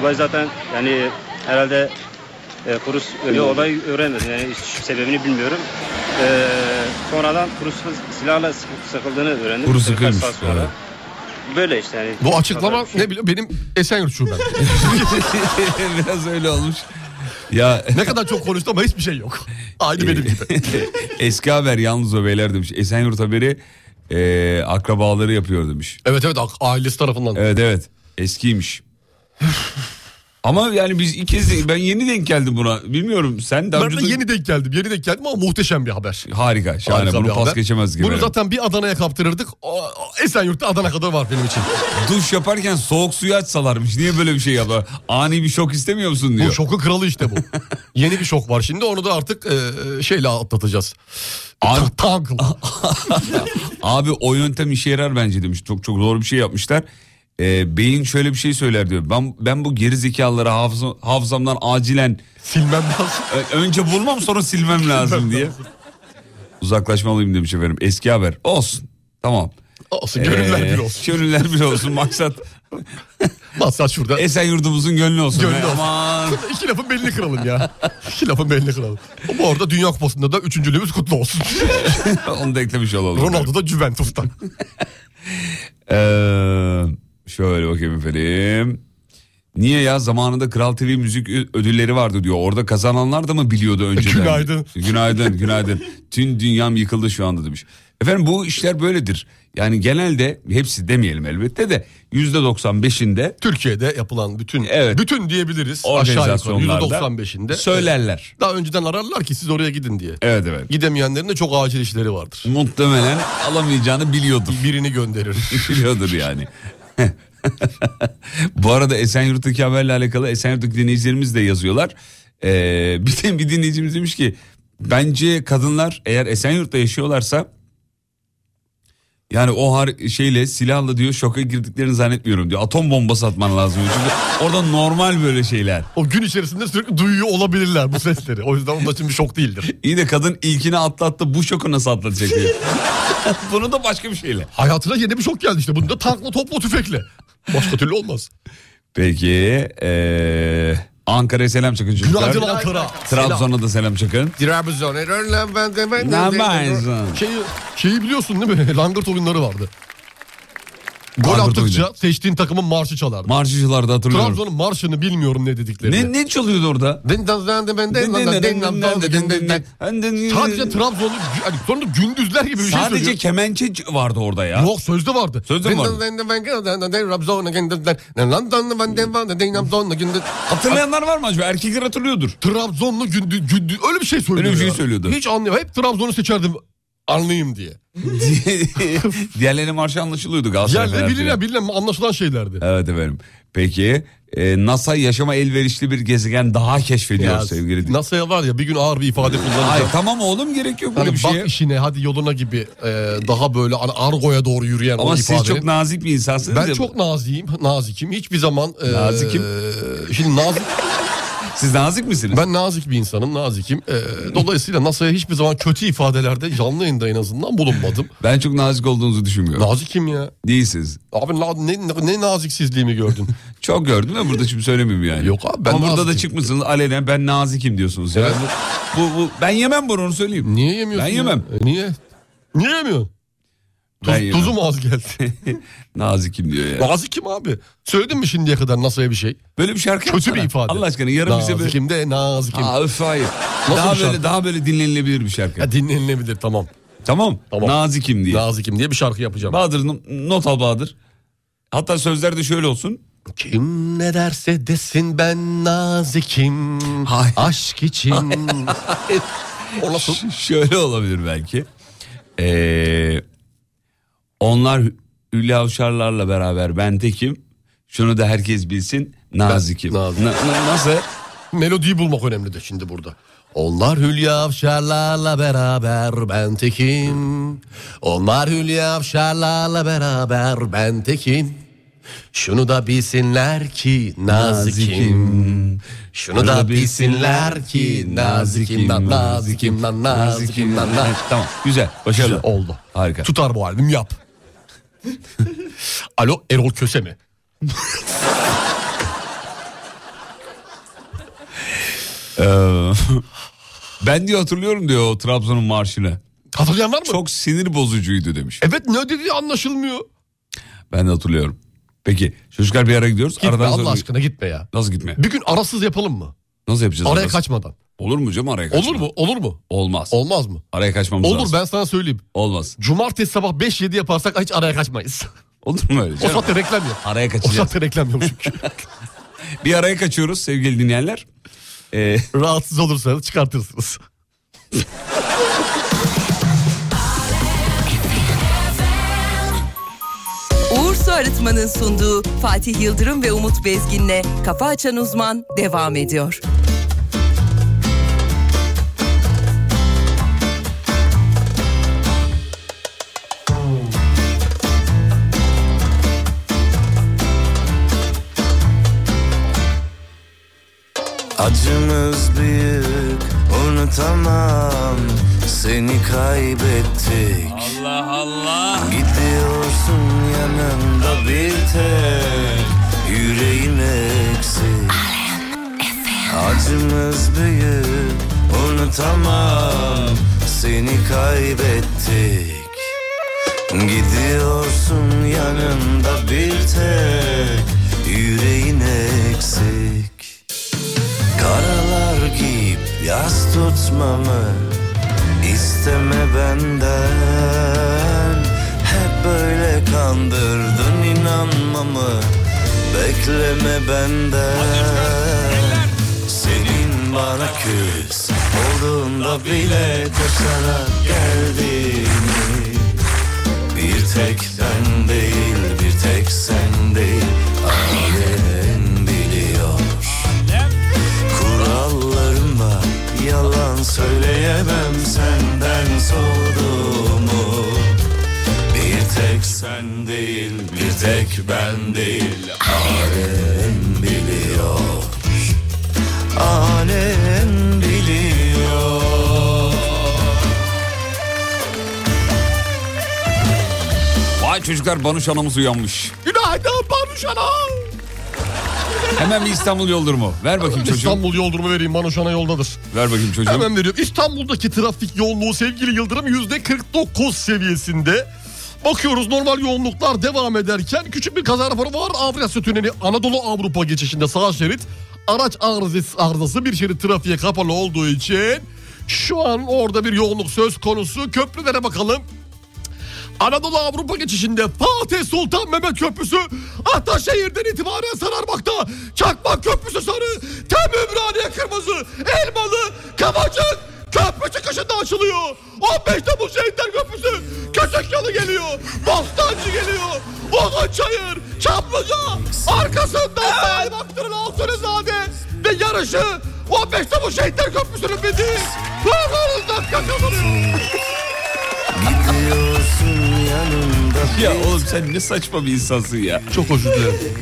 S8: Olay zaten yani herhalde e, Kurus öyle olay öğrenmedim. Yani hiç sebebini bilmiyorum. Ee, sonradan Kurus'un silahla sıkı- sıkıldığını öğrendim.
S3: Kurus
S8: Birkaç saat
S3: sıkılmış,
S8: sonra.
S3: evet.
S8: Böyle işte yani.
S4: Bu açıklama
S8: Kadar bir şey.
S4: ne biliyor benim Esenyurt şubem.
S3: Biraz öyle olmuş. Ya
S4: ne kadar çok konuştu ama hiçbir şey yok. Aynı benim gibi.
S3: eski haber yalnız o beyler demiş. Esenyurt haberi e, akrabaları yapıyor demiş.
S4: Evet evet ailesi tarafından.
S3: Evet evet. Eskiymiş. Ama yani biz ilk kez de- ben yeni denk geldim buna. Bilmiyorum sen daha
S4: Ben
S3: önce
S4: de
S3: de-
S4: yeni denk geldim. Yeni denk geldim ama muhteşem bir haber.
S3: Harika şahane
S4: Harika bir
S3: bunu pas
S4: haber.
S3: geçemez gibi.
S4: Bunu zaten bir Adana'ya kaptırırdık. O- o Esenyurt'ta Adana kadar var benim için.
S3: Duş yaparken soğuk suyu açsalarmış. Niye böyle bir şey yapar? Ani bir şok istemiyor musun diyor.
S4: Bu şokun kralı işte bu. Yeni bir şok var şimdi onu da artık e, şeyle atlatacağız.
S3: Abi-
S4: Ta- Tankla.
S3: Abi o yöntem işe yarar bence demiş. Çok çok doğru bir şey yapmışlar. Ee, beyin şöyle bir şey söyler diyor. Ben ben bu geri zekalıları hafıza- hafızamdan acilen
S4: Silmem lazım.
S3: Ö- önce bulmam sonra silmem lazım diye. Uzaklaşmalıyım demiş efendim. Eski haber. Olsun. Tamam.
S4: Olsun gönüller
S3: Ee,
S4: bir olsun.
S3: Gönüller bir olsun maksat.
S4: Maksat şurada.
S3: Esen yurdumuzun gönlü olsun.
S4: Gönlü
S3: He,
S4: olsun.
S3: Aman.
S4: İki lafın belini kıralım ya. İki lafın belini kıralım. Bu arada Dünya Kupası'nda da üçüncülüğümüz kutlu olsun.
S3: Onu da eklemiş olalım.
S4: Ronaldo da Juventus'tan.
S3: Ee, şöyle bakayım efendim. Niye ya zamanında Kral TV müzik ö- ödülleri vardı diyor. Orada kazananlar da mı biliyordu önceden?
S4: Günaydın.
S3: Günaydın, günaydın. Tüm dünyam yıkıldı şu anda demiş. Efendim bu işler böyledir. Yani genelde hepsi demeyelim elbette de yüzde 95'inde
S4: Türkiye'de yapılan bütün
S3: Evet.
S4: bütün diyebiliriz aşağı yukarı
S3: organizasyonlarda
S4: %95'inde.
S3: söylerler.
S4: Daha önceden ararlar ki siz oraya gidin diye.
S3: Evet evet.
S4: Gidemeyenlerin de çok acil işleri vardır.
S3: Muhtemelen alamayacağını biliyordur.
S4: Birini gönderir.
S3: Biliyordur yani. Bu arada Esenyurt'taki haberle alakalı Esenyurt'taki dinleyicilerimiz de yazıyorlar. Ee, bir de bir dinleyicimiz demiş ki bence kadınlar eğer Esenyurt'ta yaşıyorlarsa yani o har şeyle silahla diyor şoka girdiklerini zannetmiyorum diyor. Atom bombası atman lazım. Çünkü orada normal böyle şeyler.
S4: O gün içerisinde sürekli duyuyor olabilirler bu sesleri. O yüzden onun için bir şok değildir.
S3: İyi de kadın ilkini atlattı bu şoku nasıl atlatacak diyor. Bunu da başka bir şeyle.
S4: Hayatına yeni bir şok geldi işte. Bunu da tankla topla tüfekle. Başka türlü olmaz.
S3: Peki. eee, e, Ankara'ya selam çakın çocuklar.
S4: Günaydın Ankara.
S3: Trabzon'a da selam çakın.
S4: Trabzon.
S3: Trabzon.
S4: Şeyi, şeyi biliyorsun değil mi? Langırt oyunları vardı. Gol
S3: Langırt
S4: attıkça
S3: oyunu.
S4: seçtiğin takımın marşı çalardı.
S3: Marşıcılarda hatırlıyorum.
S4: Trabzon'un marşını bilmiyorum ne dediklerini.
S3: Ne, ne çalıyordu orada?
S4: Sadece Trabzonlu hani sonunda gündüzler gibi bir şey
S3: Sadece
S4: söylüyor.
S3: kemençe vardı orada ya.
S4: Yok sözde vardı.
S3: Sözde mi vardı? Hatırlayanlar var mı acaba? Erkekler hatırlıyordur.
S4: Trabzonlu gündüz, gündüz öyle bir şey söylüyor.
S3: Öyle bir şey
S4: ya.
S3: söylüyordu.
S4: Hiç anlayamam. Hep Trabzon'u seçerdim anlayayım diye.
S3: Diğerlerinin marşı anlaşılıyordu Galatasaray.
S4: Yerleri
S3: Fenerbahçe.
S4: bilinen bilinen anlaşılan şeylerdi.
S3: Evet efendim. Peki e, NASA yaşama elverişli bir gezegen daha keşfediyor
S4: Ya,
S3: sevgili din-
S4: NASA'ya var ya bir gün ağır bir ifade
S3: Hayır
S4: kullanacağım.
S3: tamam oğlum gerek yok böyle
S4: Hani
S3: bir
S4: bak
S3: şeye.
S4: işine hadi yoluna gibi e, daha böyle hani argoya doğru yürüyen o
S3: Ama siz
S4: ifadenin.
S3: çok nazik bir insansınız.
S4: ben
S3: ya.
S4: çok naziyim, nazikim. Hiçbir zaman... e,
S3: Nazikim?
S4: Şimdi nazik,
S3: Siz nazik misiniz?
S4: ben nazik bir insanım, nazikim. E, dolayısıyla NASA'ya hiçbir zaman kötü ifadelerde canlı yayında en azından bulunmadım.
S3: Ben çok nazik olduğunuzu düşünmüyorum.
S4: Nazikim ya.
S3: Değilsiniz.
S4: Abi na- ne, ne naziksizliğimi gördün.
S3: Çok gördüm de burada şimdi söylemeyeyim yani.
S4: Yok abi, ben
S3: Ama burada da
S4: nazikim.
S3: çıkmışsınız alenen ben nazikim diyorsunuz. Ya.
S4: Evet.
S3: Bu, bu, bu- ben yemem bunu onu söyleyeyim.
S4: Niye yemiyorsun?
S3: Ben
S4: ya?
S3: yemem.
S4: E, Niye? Niye yemiyorsun? Tuz,
S3: Ben yemem.
S4: Tuzum az geldi.
S3: Nazikim diyor ya.
S4: nazikim abi. Söyledin mi şimdiye kadar NASA'ya bir şey?
S3: Böyle bir şarkı
S4: Kötü
S3: yapsana.
S4: bir ifade.
S3: Allah aşkına yarın bize böyle.
S4: Nazikim de nazikim.
S3: Aa, öf hayır.
S4: Nasıl
S3: daha
S4: bir
S3: böyle
S4: şarkı?
S3: daha böyle dinlenilebilir bir şarkı.
S4: Ya dinlenilebilir tamam.
S3: Tamam.
S4: Tamam.
S3: Nazikim diye.
S4: Nazikim diye bir şarkı yapacağım.
S3: Bahadır n- not al Bahadır. Hatta sözler de şöyle olsun.
S4: Kim ne derse desin ben nazikim.
S3: Hayır.
S4: Aşk için. o nasıl?
S3: Ş- şöyle olabilir belki. Ee, onlar Hülya Avşarlar'la beraber ben tekim. Şunu da herkes bilsin. Nazikim.
S4: Ben- Nazikim.
S3: Na- na- nasıl?
S4: Melodiyi bulmak önemlidir şimdi burada. Onlar Hülya Avşarlar'la beraber ben tekim. Onlar Hülya Avşarlar'la beraber ben tekim. Şunu da bilsinler ki nazikim. Şunu da bilsinler ki nazikim lan nazikim lan nazikim lan nazikim.
S3: Tamam güzel başarılı.
S4: Güzel, oldu.
S3: Harika.
S4: Tutar bu albüm yap. Alo Erol Köse mi?
S3: Ee, ben diyor hatırlıyorum diyor o Trabzon'un marşını.
S4: Hatırlayan var mı?
S3: Çok sinir bozucuydu demiş.
S4: Evet ne dediği anlaşılmıyor.
S3: Ben de hatırlıyorum. Peki çocuklar bir ara gidiyoruz.
S4: Gitme
S3: Aradan
S4: Allah
S3: sonra...
S4: aşkına gitme ya.
S3: Nasıl gitme?
S4: Bir gün arasız yapalım mı?
S3: Nasıl yapacağız?
S4: Araya
S3: arası?
S4: kaçmadan.
S3: Olur mu canım araya kaçma?
S4: Olur mu? Olur mu?
S3: Olmaz.
S4: Olmaz mı?
S3: araya kaçmamız
S4: Olur
S3: lazım.
S4: ben sana söyleyeyim.
S3: Olmaz.
S4: Cumartesi sabah 5-7 yaparsak hiç araya kaçmayız.
S3: Olur mu öyle
S4: o
S3: canım?
S4: saatte reklam yok.
S3: Araya
S4: O
S3: kaçacağız.
S4: saatte reklam yok çünkü.
S3: Bir araya kaçıyoruz sevgili dinleyenler. Ee,
S4: Rahatsız olursanız çıkartırsınız.
S1: Uğur Su Arıtma'nın sunduğu Fatih Yıldırım ve Umut Bezgin'le Kafa Açan Uzman devam ediyor.
S9: Acımız büyük unutamam Seni kaybettik
S3: Allah Allah.
S9: Gidiyorsun yanımda bir tek Yüreğim eksik Acımız büyük unutamam Seni kaybettik Gidiyorsun yanımda bir tek Yüreğin eksik Karalar giyip yaz tutmamı isteme benden Hep böyle kandırdın inanmamı Bekleme benden Senin bana küs olduğunda bile Koşarak geldiğini Bir tek ben değil bir tek sen değil Ailen biliyor Kurallarıma yalan söyleyemem senden soğuduğumu Bir tek sen değil bir tek ben değil Alem biliyor Alem biliyor
S3: Vay çocuklar Banuş anamız uyanmış.
S4: Günaydın Banuş Ana.
S3: Hemen bir İstanbul yol durumu. Ver bakayım çocuğum.
S4: İstanbul yol durumu vereyim bana şu ana yoldadır.
S3: Ver bakayım çocuğum.
S4: Hemen veriyorum. İstanbul'daki trafik yoğunluğu sevgili Yıldırım yüzde 49 seviyesinde. Bakıyoruz normal yoğunluklar devam ederken küçük bir kaza raporu var. Avrasya Tüneli Anadolu Avrupa geçişinde sağ şerit araç arızası, arızası bir şerit trafiğe kapalı olduğu için şu an orada bir yoğunluk söz konusu. Köprülere bakalım. Anadolu Avrupa geçişinde Fatih Sultan Mehmet Köprüsü Ataşehir'den itibaren sararmakta. Çakmak Köprüsü sarı, Temümraniye kırmızı, Elmalı, Kavacık Köprü çıkışında açılıyor. 15 Temmuz Şehitler Köprüsü, Köşek Yalı geliyor, Bostancı geliyor, Odunçayır, Çamlıca, arkasından Salim Aktır'ın Altunizade ve yarışı 15 Temmuz Şehitler Köprüsü'nün bittiği Kurbanızdan kaçamadın.
S9: Gidiyorsun yanımda
S3: Ya oğlum sen ne saçma bir insansın ya.
S4: Çok özür dilerim.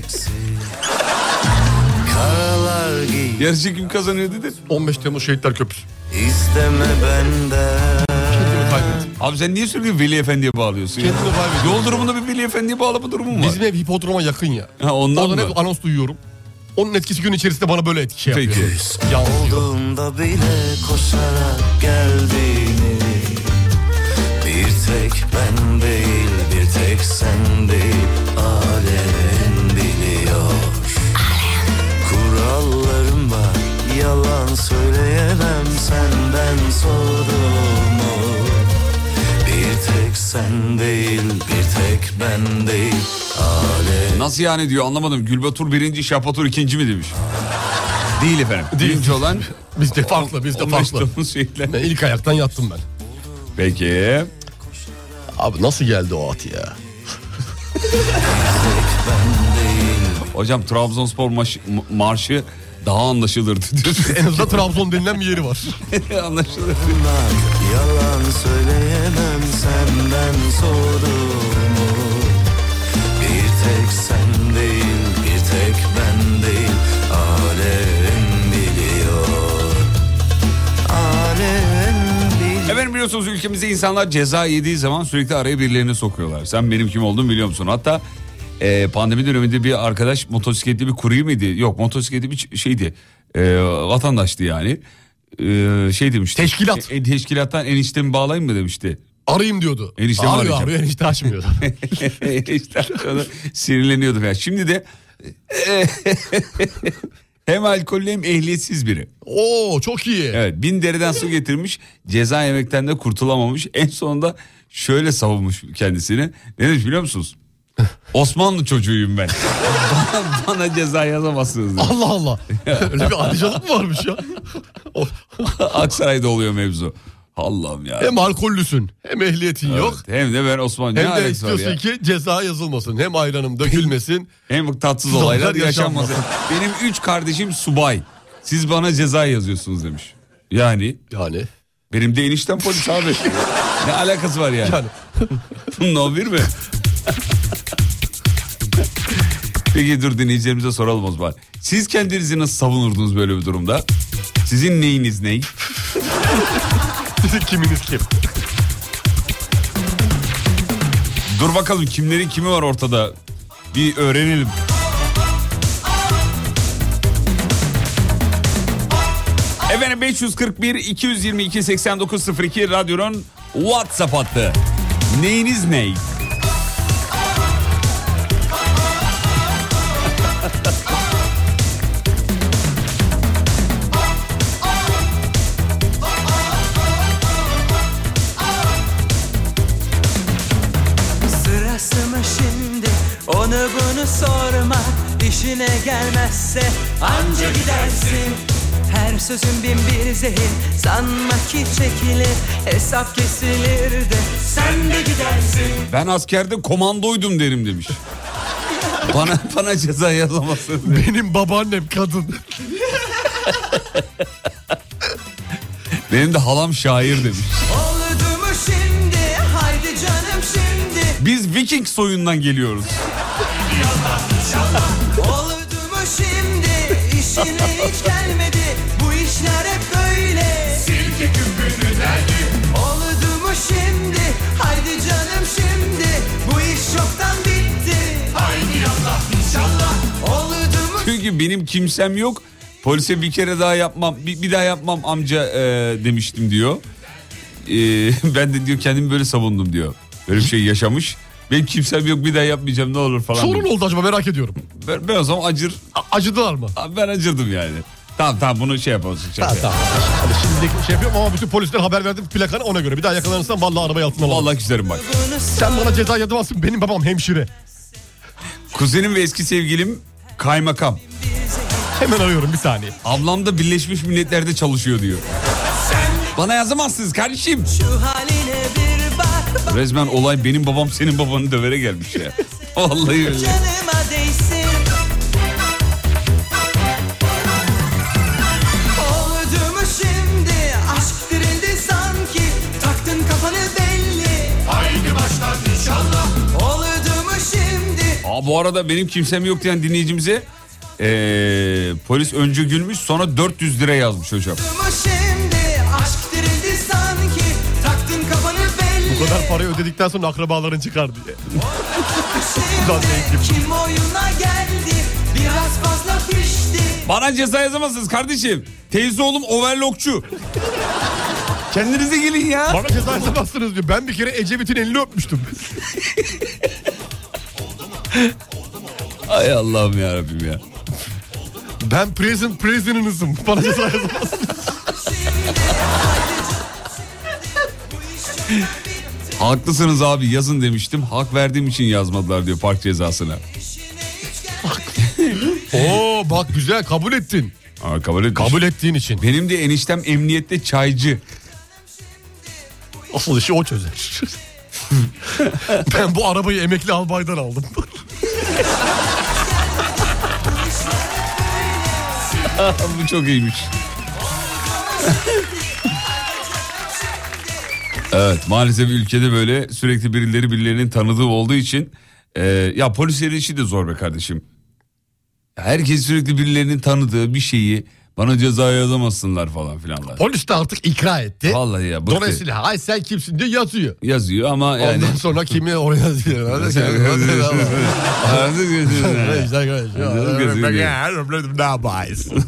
S9: Karalar giy
S3: Yarışı kim kazanıyor dedin.
S4: 15 Temmuz Şehitler Köprüsü.
S9: isteme benden
S4: Kendimi kaybettim.
S3: Abi sen niye sürekli Veli Efendi'ye bağlıyorsun ya?
S4: Kendimi kaybettim.
S3: Yol durumunda bir Veli Efendi'ye bağlama durumu mu var?
S4: Bizim ev hipodroma yakın ya.
S3: Ha, ondan
S4: Ondan
S3: mı?
S4: hep anons duyuyorum. Onun etkisi gün içerisinde bana böyle etki şey yapıyor.
S3: Peki.
S4: Yalnız diyor.
S9: Olduğunda bile koşarak geldiğini Bir tek ben değil bir tek sen değil Alem biliyor Kurallarım var yalan söyleyemem Senden sorduğumu Bir tek sen değil bir tek ben değil Alem
S3: Nasıl yani diyor anlamadım. Gülbatur birinci, Şapatur ikinci mi demiş. Değil efendim.
S4: Değil.
S3: Birinci olan...
S4: Biz de farklı, biz de
S3: 15
S4: farklı.
S3: Temmuz şehitler.
S4: Ben ilk ayaktan yattım ben.
S3: Peki.
S4: Abi nasıl geldi o at ya?
S3: Hocam Trabzonspor maşı- ma- marşı daha anlaşılırdı diyor.
S4: En azından Trabzon denilen bir yeri var.
S3: Anlaşılır.
S9: Bak, Yalan söyleyemem senden sorumu Bir tek sen değil bir tek ben değil Alem biliyor Alem biliyor
S3: Efendim biliyorsunuz ülkemizde insanlar ceza yediği zaman sürekli araya birilerini sokuyorlar. Sen benim kim olduğumu biliyor musun? Hatta e, pandemi döneminde bir arkadaş motosikletli bir kurye miydi? Yok motosikletli bir ç- şeydi. E, vatandaştı yani. E, şey demişti.
S4: Teşkilat.
S3: E, e, teşkilattan eniştemi bağlayayım mı demişti.
S4: Arayayım diyordu.
S3: Eniştemi
S4: arıyor
S3: arayacağım.
S4: arıyor enişte açmıyor.
S3: işte sonra sinirleniyordum ya. Şimdi de hem alkollü hem ehliyetsiz biri.
S4: Oo çok iyi.
S3: Evet bin deriden su getirmiş ceza yemekten de kurtulamamış. En sonunda şöyle savunmuş kendisini. Ne demiş biliyor musunuz? Osmanlı çocuğuyum ben. bana, bana ceza yazamazsınız. demiş.
S4: Allah Allah. Öyle bir adicılık mı varmış ya? O-
S3: Aksaray'da oluyor mevzu. Allah'ım ya.
S4: hem alkollüsün hem ehliyetin
S3: Evet,
S4: yok.
S3: Hem de ben Osmanlı. ne
S4: Hem de
S3: alakası var
S4: istiyorsun
S3: ya?
S4: ki ceza yazılmasın. Hem ayranım dökülmesin.
S3: Hem tatsız
S4: Olaylar
S3: olaylar yaşanmasın.
S4: yaşanmasın.
S3: Benim üç kardeşim subay. Siz bana ceza yazıyorsunuz demiş. Yani
S4: Yani.
S3: benim de eniştem polis abi. ne alakası var yani?
S4: Yani.
S3: no bir mi? Peki dur dinleyicilerimize soralım o zaman. Siz kendinizi nasıl savunurdunuz böyle bir durumda? Sizin neyiniz ney?
S4: Sizin kiminiz kim?
S3: Dur bakalım kimlerin kimi var ortada. Bir öğrenelim. Efendim 541 222 8902 radyonun WhatsApp hattı. Neyiniz ney?
S5: Sırası mı şimdi onu bunu sorma İşine gelmezse anca gidersin Her sözün bin bir zehir Sanma ki çekilir hesap kesilir de Sen de gidersin
S3: Ben askerde komandoydum derim demiş. bana bana ceza yazamazsınız.
S4: Benim babaannem kadın.
S3: Benim de halam şair demiş.
S5: Oldu mu şimdi haydi canım şimdi
S3: Biz Viking soyundan geliyoruz.
S5: Oldu mu şimdi işine hiç gelmedi Bu işler hep böyle Silke küpünü dergi Oldu mu şimdi haydi canım şimdi Bu iş çoktan bitti Haydi Allah inşallah Oldu mu
S3: Çünkü benim kimsem yok. Polise bir kere daha yapmam, bir, bir daha yapmam amca e, demiştim diyor. E, ben de diyor kendimi böyle savundum diyor. Böyle bir şey yaşamış. Benim kimsem yok bir daha yapmayacağım ne olur falan.
S4: Sorun
S3: demiş.
S4: oldu acaba merak ediyorum.
S3: Ben, ben o zaman acır,
S4: A- acıdılar mı?
S3: Abi ben acırdım yani. Tamam tamam bunu şey yapalım. Şey yapalım.
S4: Hadi şimdi şey yapıyorum ama bütün polisler haber verdim plakanı ona göre. Bir daha yakalanırsan vallahi arabayı altına alalım.
S3: Vallahi güzelim bak.
S4: Sen bana ceza yazamazsın benim babam hemşire.
S3: Kuzenim ve eski sevgilim kaymakam.
S4: Hemen arıyorum bir saniye.
S3: Ablam da Birleşmiş Milletler'de çalışıyor diyor. Bana yazamazsınız kardeşim. Resmen olay benim babam senin babanı dövere gelmiş ya. Vallahi öyle.
S10: Oldu mu şimdi aşk dirildi sanki Taktın kafanı belli Haydi baştan inşallah Oldu mu şimdi
S3: Aa, bu arada benim kimsem yok diyen dinleyicimize ee, polis önce gülmüş sonra 400 lira yazmış hocam.
S10: oldu mu şimdi aşk dirildi sanki Taktın kafanı belli
S4: Bu kadar parayı ödedikten sonra akrabaların çıkar diye. Ulan
S10: Şimdi
S4: zengin. şey.
S10: kim oyuna geldi Biraz fazla pişti
S3: Bana ceza yazamazsınız kardeşim. Teyze oğlum overlockçu. Kendinize gelin ya.
S4: Bana ceza yazamazsınız diyor. Ben bir kere Ecevit'in elini öpmüştüm.
S3: Ay Allah'ım ya Rabbim ya.
S4: Ben prison prisoner'ınızım. Bana ceza yazamazsın.
S3: Haklısınız abi yazın demiştim. Hak verdiğim için yazmadılar diyor park cezasına.
S4: Oo bak güzel kabul ettin.
S3: Aa, kabul etmiş.
S4: Kabul ettiğin için.
S3: Benim de eniştem emniyette çaycı.
S4: Asıl işi o çözer. ben bu arabayı emekli albaydan aldım.
S3: Bu çok iyiymiş. evet maalesef ülkede böyle sürekli birileri birilerinin tanıdığı olduğu için e, ya polislerin işi de zor be kardeşim. Herkes sürekli birilerinin tanıdığı bir şeyi bana ceza yazamazsınlar falan filanlar.
S4: Polis de artık ikra etti.
S3: Vallahi ya bıktı.
S4: Dolayısıyla ay sen kimsin diye yazıyor.
S3: yazıyor ama yani.
S4: Ondan sonra kimi oraya yazıyor. Ne yapıyorsun?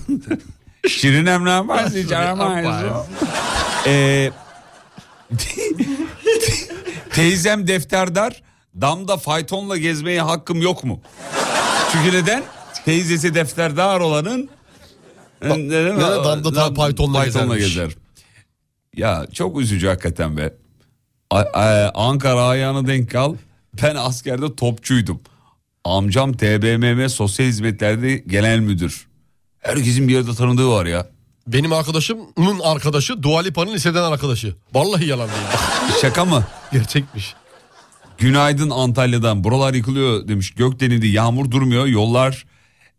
S3: Şirinem ne yaparsın hiç aramayız. Ee, teyzem defterdar, damda faytonla gezmeye hakkım yok mu? Çünkü neden? Teyzesi defterdar olanın... Ee, Ne- ne- ne-
S4: damda ta- faytonla gezermiş.
S3: Ya çok üzücü hakikaten be. A- a- Ankara ayağına denk kal. Ben askerde topçuydum. Amcam TBMM Sosyal Hizmetler'de genel müdür. Herkesin bir yerde tanıdığı var ya.
S4: Benim arkadaşımın arkadaşı Dua Lipa'nın liseden arkadaşı. Vallahi yalan değil.
S3: Şaka mı?
S4: Gerçekmiş.
S3: Günaydın Antalya'dan. Buralar yıkılıyor demiş. Gök denildi. Yağmur durmuyor. Yollar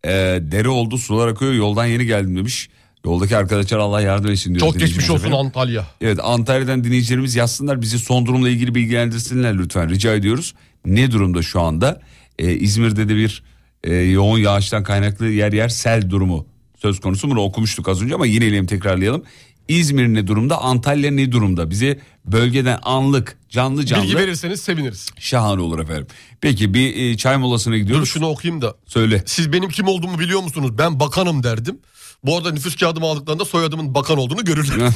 S3: e, dere oldu. Sular akıyor. Yoldan yeni geldim demiş. Yoldaki arkadaşlar Allah yardım etsin diyor.
S4: Çok geçmiş
S3: dinleyicimiz
S4: olsun
S3: efendim.
S4: Antalya.
S3: Evet Antalya'dan dinleyicilerimiz yazsınlar. Bizi son durumla ilgili bilgilendirsinler lütfen. Rica ediyoruz. Ne durumda şu anda? E, İzmir'de de bir e, yoğun yağıştan kaynaklı yer yer sel durumu söz konusu. Bunu okumuştuk az önce ama yineleyelim tekrarlayalım. İzmir ne durumda? Antalya ne durumda? Bize bölgeden anlık canlı canlı
S4: Bilgi verirseniz seviniriz.
S3: Şahane olur efendim. Peki bir e, çay molasına
S4: Dur
S3: gidiyoruz.
S4: şunu okuyayım da.
S3: Söyle.
S4: Siz benim kim olduğumu biliyor musunuz? Ben bakanım derdim. Bu arada nüfus kağıdımı aldıklarında soyadımın bakan olduğunu görürler.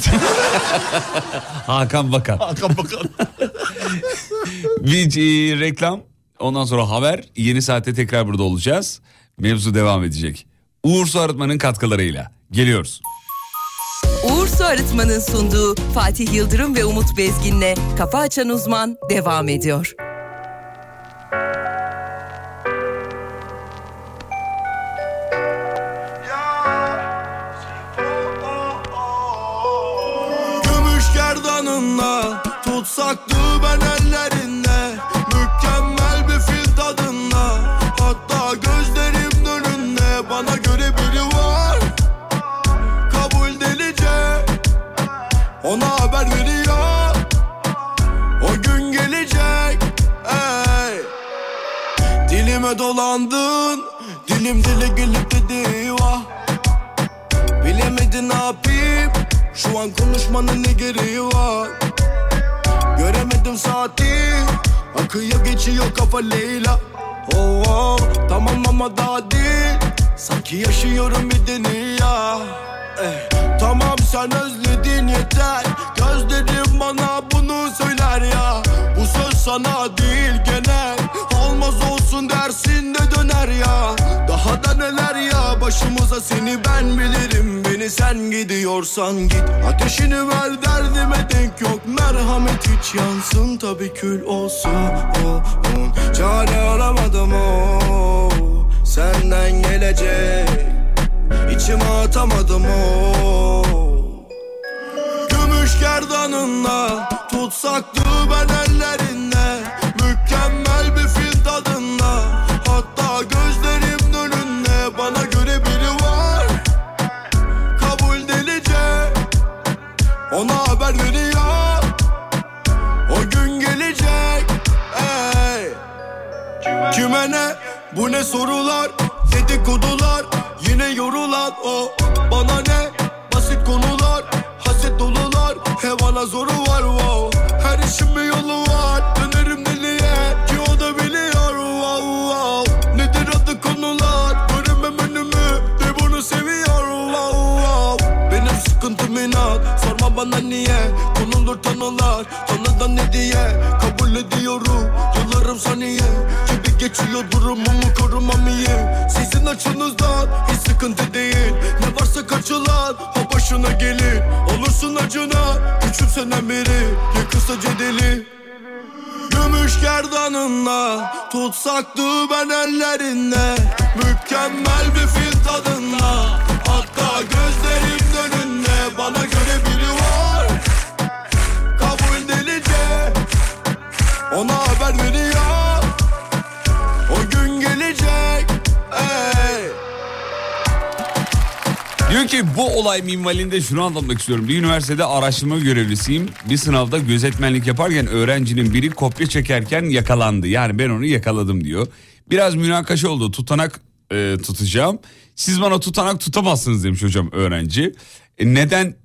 S3: Hakan Bakan.
S4: Hakan Bakan.
S3: Bir e, reklam ondan sonra haber yeni saatte tekrar burada olacağız. Mevzu devam edecek. Uğur Su Arıtma'nın katkılarıyla geliyoruz.
S1: Uğur Su Arıtma'nın sunduğu Fatih Yıldırım ve Umut Bezgin'le Kafa Açan Uzman devam ediyor.
S11: Gümüş gerdanında Tutsaklı ben ellerinde Mükemmel bir fil tadında Hatta gözlerim önünde Bana göre biri var Kabul delice Ona haber veriyor O gün gelecek Ey Dilime dolandın Dilim dile gelip dedi vah Bilemedin ne yapayım Şu an konuşmanın ne gereği var Göremedim saati Akıyor geçiyor kafa Leyla Oh, oh tamam ama daha değil Sanki yaşıyorum bir dünya Eh, Tamam sen özledin yeter Gözlerim bana bunu söyler ya Bu söz sana değil genel Olmaz olsun dersin de döner ya Daha da neler ya başımıza seni ben bilirim Beni sen gidiyorsan git Ateşini ver derdime denk yok Merhamet hiç yansın tabi kül olsun oh, oh. Çare aramadım oh. Senden gelecek İçime atamadım o Gümüş gerdanınla Tutsaktı ben ellerinde Mükemmel bir fil tadında Hatta gözlerimin önünde Bana göre biri var Kabul delice Ona haber veriyor O gün gelecek Ey. Kime ne? Bu ne sorular? Dedikodular Yine yorulan o Bana ne? Basit konular Haset dolular Hevana zoru var wow Her işin bir yolu var Dönerim deliye Ki o da biliyor wow wow Nedir adı konular Göremem önümü De bunu seviyor wow wow Benim sıkıntım inat Sorma bana niye Konulur tanılar Tanıdan ne diye Kabul ediyorum Yıllarım saniye Gibi geçiyor durumumu korumam iyi Sizin açınızdan Hiç sıkıntı değil Ne varsa kaçılan O başına gelir Olursun acına Küçümsenen biri Yakırsa cedeli Gümüş gerdanınla Tutsaktı ben ellerinde Mükemmel bir fil tadında Hatta gözlerim önünde Bana göre biri var Kabul delice Ona haber veriyor O gün gelecek Ey.
S3: Diyor ki bu olay minvalinde şunu anlatmak istiyorum. Bir üniversitede araştırma görevlisiyim. Bir sınavda gözetmenlik yaparken öğrencinin biri kopya çekerken yakalandı. Yani ben onu yakaladım diyor. Biraz münakaşa oldu. Tutanak e, tutacağım. Siz bana tutanak tutamazsınız demiş hocam öğrenci. E, neden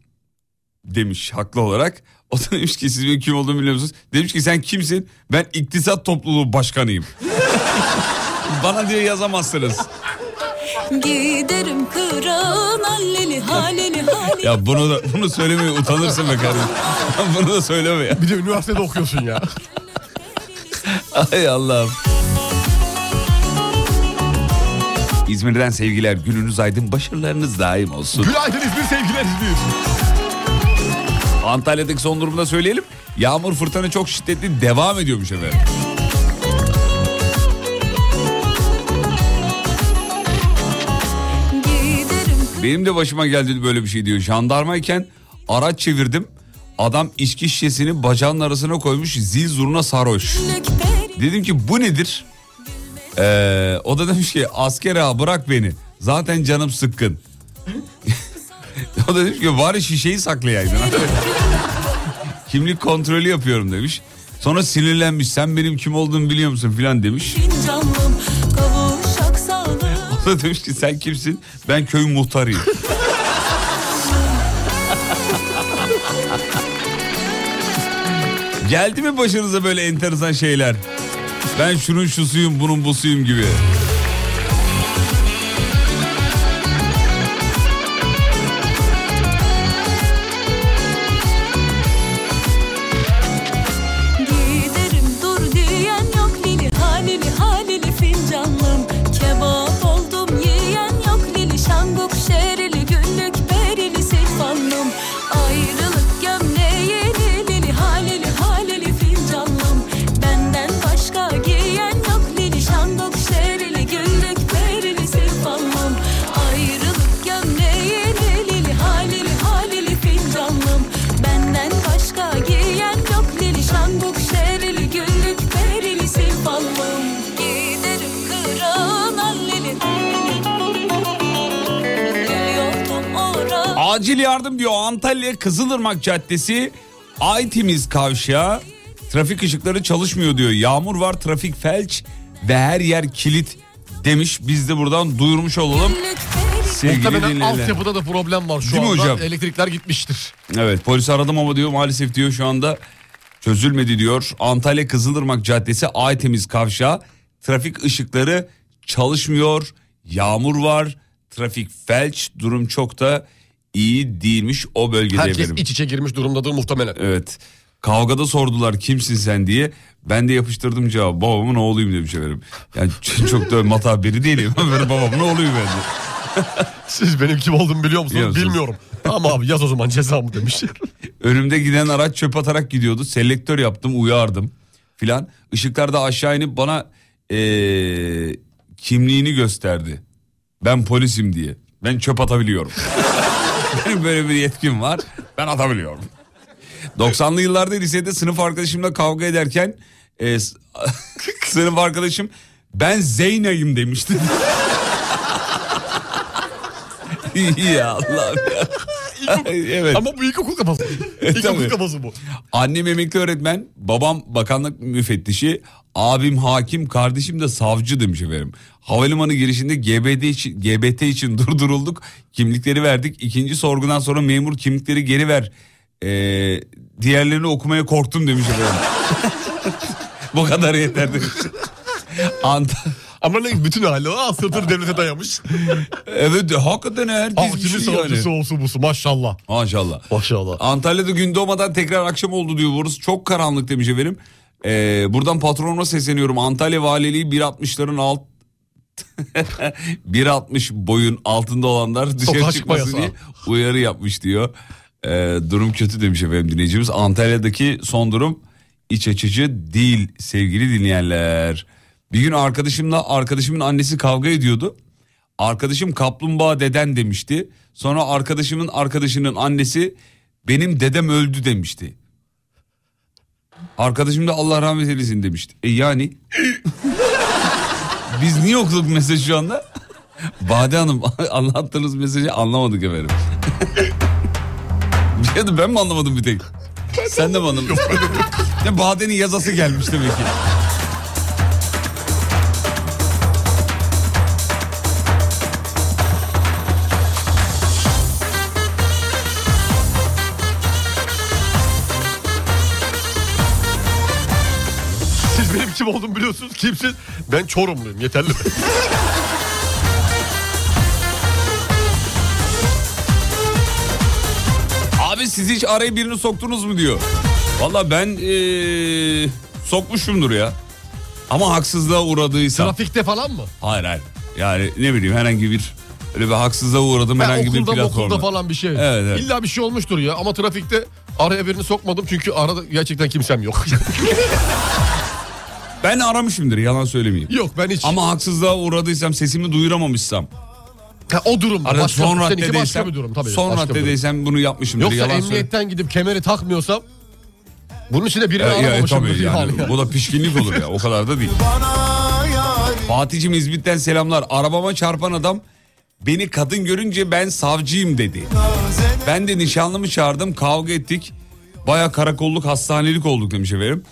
S3: demiş haklı olarak. O da demiş ki siz benim kim olduğumu biliyor musunuz? Demiş ki sen kimsin? Ben iktisat topluluğu başkanıyım. bana diyor yazamazsınız.
S12: Giderim kıran halleli haleli haleli
S3: Ya bunu da bunu söylemeye utanırsın be kardeşim. bunu da söyleme ya.
S4: Bir de üniversitede okuyorsun ya.
S3: Ay Allah'ım. İzmir'den sevgiler. Gününüz aydın, başarılarınız daim olsun.
S4: Günaydın İzmir sevgiler İzmir.
S3: Antalya'daki son durumu da söyleyelim. Yağmur fırtına çok şiddetli devam ediyormuş efendim.
S12: Giderim
S3: Benim de başıma geldi böyle bir şey diyor. Jandarmayken araç çevirdim. Adam içki şişesini bacağının arasına koymuş zil zurna sarhoş.
S12: kırlık peri
S3: Dedim ki bu nedir? Ee, o da demiş ki asker ağa bırak beni. Zaten canım sıkkın. o da demiş ki bari şişeyi saklayaydın. Kimlik kontrolü yapıyorum demiş. Sonra sinirlenmiş sen benim kim olduğumu biliyor musun filan demiş.
S12: fincanlım kavuşak sağlım
S3: O da demiş ki sen kimsin? Ben köy muhtarıyım. Geldi mi başınıza böyle enteresan şeyler? Ben şunun şusuyum, bunun busuyum gibi.
S12: Giderim dur diyen yok lili halili halili fincanlım Kebap oldum yiyen yok lili şanguk şerili günlük berili silfanlım Ayrılık gömleğini lili halili halili fincanlım Benden başka giyen yok lili şanguk şerili günlük berili silfanlım Ayrılık gömleğini lili halili halili fincanlım Benden başka giyen yok lili şambuk şerili güllük perili simfallım Giderim kıran alleli Gülüyordum orada
S3: Acil yardım diyor Antalya Kızılırmak Caddesi Aytimiz Kavşağı. Trafik ışıkları çalışmıyor diyor. Yağmur var, trafik felç ve her yer kilit demiş. Biz de buradan duyurmuş olalım.
S12: güllük perili
S3: Sevgili
S4: Muhtemelen
S3: dinleyenler.
S4: altyapıda da problem var şu
S3: Değil mi
S4: anda.
S3: hocam?
S4: Elektrikler gitmiştir.
S3: Evet polisi aradım ama diyor maalesef diyor şu anda çözülmedi diyor. Antalya Kızılırmak Caddesi Aytemiz Kavşağı trafik ışıkları çalışmıyor. Yağmur var Trafik felç durum çok da iyi değilmiş o bölgede
S4: Herkes
S3: efendim.
S4: iç içe girmiş durumdadır muhtemelen.
S3: Evet. Kavgada sordular kimsin sen diye. Ben de yapıştırdım cevabı. Babamın oğluyum demiş efendim. Yani ç- çok da mata biri değilim. Böyle babamın oğluyum ben de.
S4: Siz benim kim olduğumu biliyor musunuz?
S3: Biliyor musunuz?
S4: Bilmiyorum. Ama abi yaz o zaman cezamı demişler.
S3: Önümde giden araç çöp atarak gidiyordu. Selektör yaptım uyardım filan. Işıklarda aşağı inip bana eee, kimliğini gösterdi. Ben polisim diye. Ben çöp atabiliyorum. Benim böyle bir yetkim var. Ben atabiliyorum. 90'lı yıllarda lisede sınıf arkadaşımla kavga ederken eee, s- sınıf arkadaşım ben Zeyna'yım demişti. ya Allah'ım ya. evet. E,
S4: Ama bu ilkokul kafası.
S3: tabii.
S4: ilkokul kafası bu.
S3: Annem emekli öğretmen, babam bakanlık müfettişi, abim hakim, kardeşim de savcı demiş efendim. Havalimanı girişinde GBT için, GBT için durdurulduk, kimlikleri verdik. İkinci sorgudan sonra memur kimlikleri geri ver. Ee, diğerlerini okumaya korktum demiş efendim. Bu kadar yeter demiş. Ant-
S4: Ama ne bütün hali o. Sırtını devlete dayamış.
S3: evet hakikaten herkes bir
S4: Hakimin
S3: şey yani.
S4: savcısı olsun busu maşallah.
S3: Maşallah.
S4: Maşallah.
S3: Antalya'da gün doğmadan tekrar akşam oldu diyor burası. Çok karanlık demiş efendim. Ee, buradan patronuma sesleniyorum. Antalya Valiliği 1.60'ların alt... 1.60 boyun altında olanlar dışarı
S4: Sokağa çıkma
S3: çıkmasın
S4: yasağı.
S3: diye uyarı yapmış diyor. Ee, durum kötü demiş efendim dinleyicimiz. Antalya'daki son durum iç açıcı değil sevgili dinleyenler. Bir gün arkadaşımla arkadaşımın annesi kavga ediyordu. Arkadaşım kaplumbağa deden demişti. Sonra arkadaşımın arkadaşının annesi benim dedem öldü demişti. Arkadaşım da Allah rahmet eylesin demişti. E yani biz niye okuduk mesaj şu anda? Bade Hanım anlattığınız mesajı anlamadık efendim. ya da ben mi anlamadım bir tek? Sen de mi anlamadın? ya Bade'nin yazası gelmiş demek ki.
S4: Siz benim kim olduğumu biliyorsunuz. Kimsiz? Ben Çorumluyum. Yeterli mi?
S3: Abi siz hiç araya birini soktunuz mu diyor. Valla ben ee, sokmuşumdur ya. Ama haksızlığa uğradıysa.
S4: Trafikte falan mı?
S3: Hayır hayır. Yani ne bileyim herhangi bir öyle bir haksızlığa uğradım
S4: Ben
S3: herhangi bir
S4: okulda okulda
S3: platformda.
S4: falan bir şey.
S3: Evet, evet.
S4: İlla bir şey olmuştur ya. Ama trafikte araya birini sokmadım. Çünkü arada gerçekten kimsem yok.
S3: Ben aramışımdır yalan söylemeyeyim.
S4: yok ben hiç.
S3: Ama haksızlığa uğradıysam sesimi duyuramamışsam.
S4: Ha, o durum.
S3: Arada
S4: başka,
S3: son
S4: seninki
S3: raddedeysem,
S4: başka bir durum. Tabii,
S3: son
S4: başka bir durum.
S3: raddedeysem bunu yapmışımdır
S4: Yoksa
S3: yalan söyle.
S4: emniyetten gidip kemeri takmıyorsam bunun içine birini
S3: E, ya, e,
S4: aramamışımdır.
S3: tabii
S4: yani.
S3: yani. Bu da pişkinlik olur ya o kadar da değil. Fatih'cim İzmit'ten selamlar. Arabama çarpan adam beni kadın görünce ben savcıyım dedi. Ben de nişanlımı çağırdım kavga ettik. Baya karakolluk hastanelik olduk demiş efendim.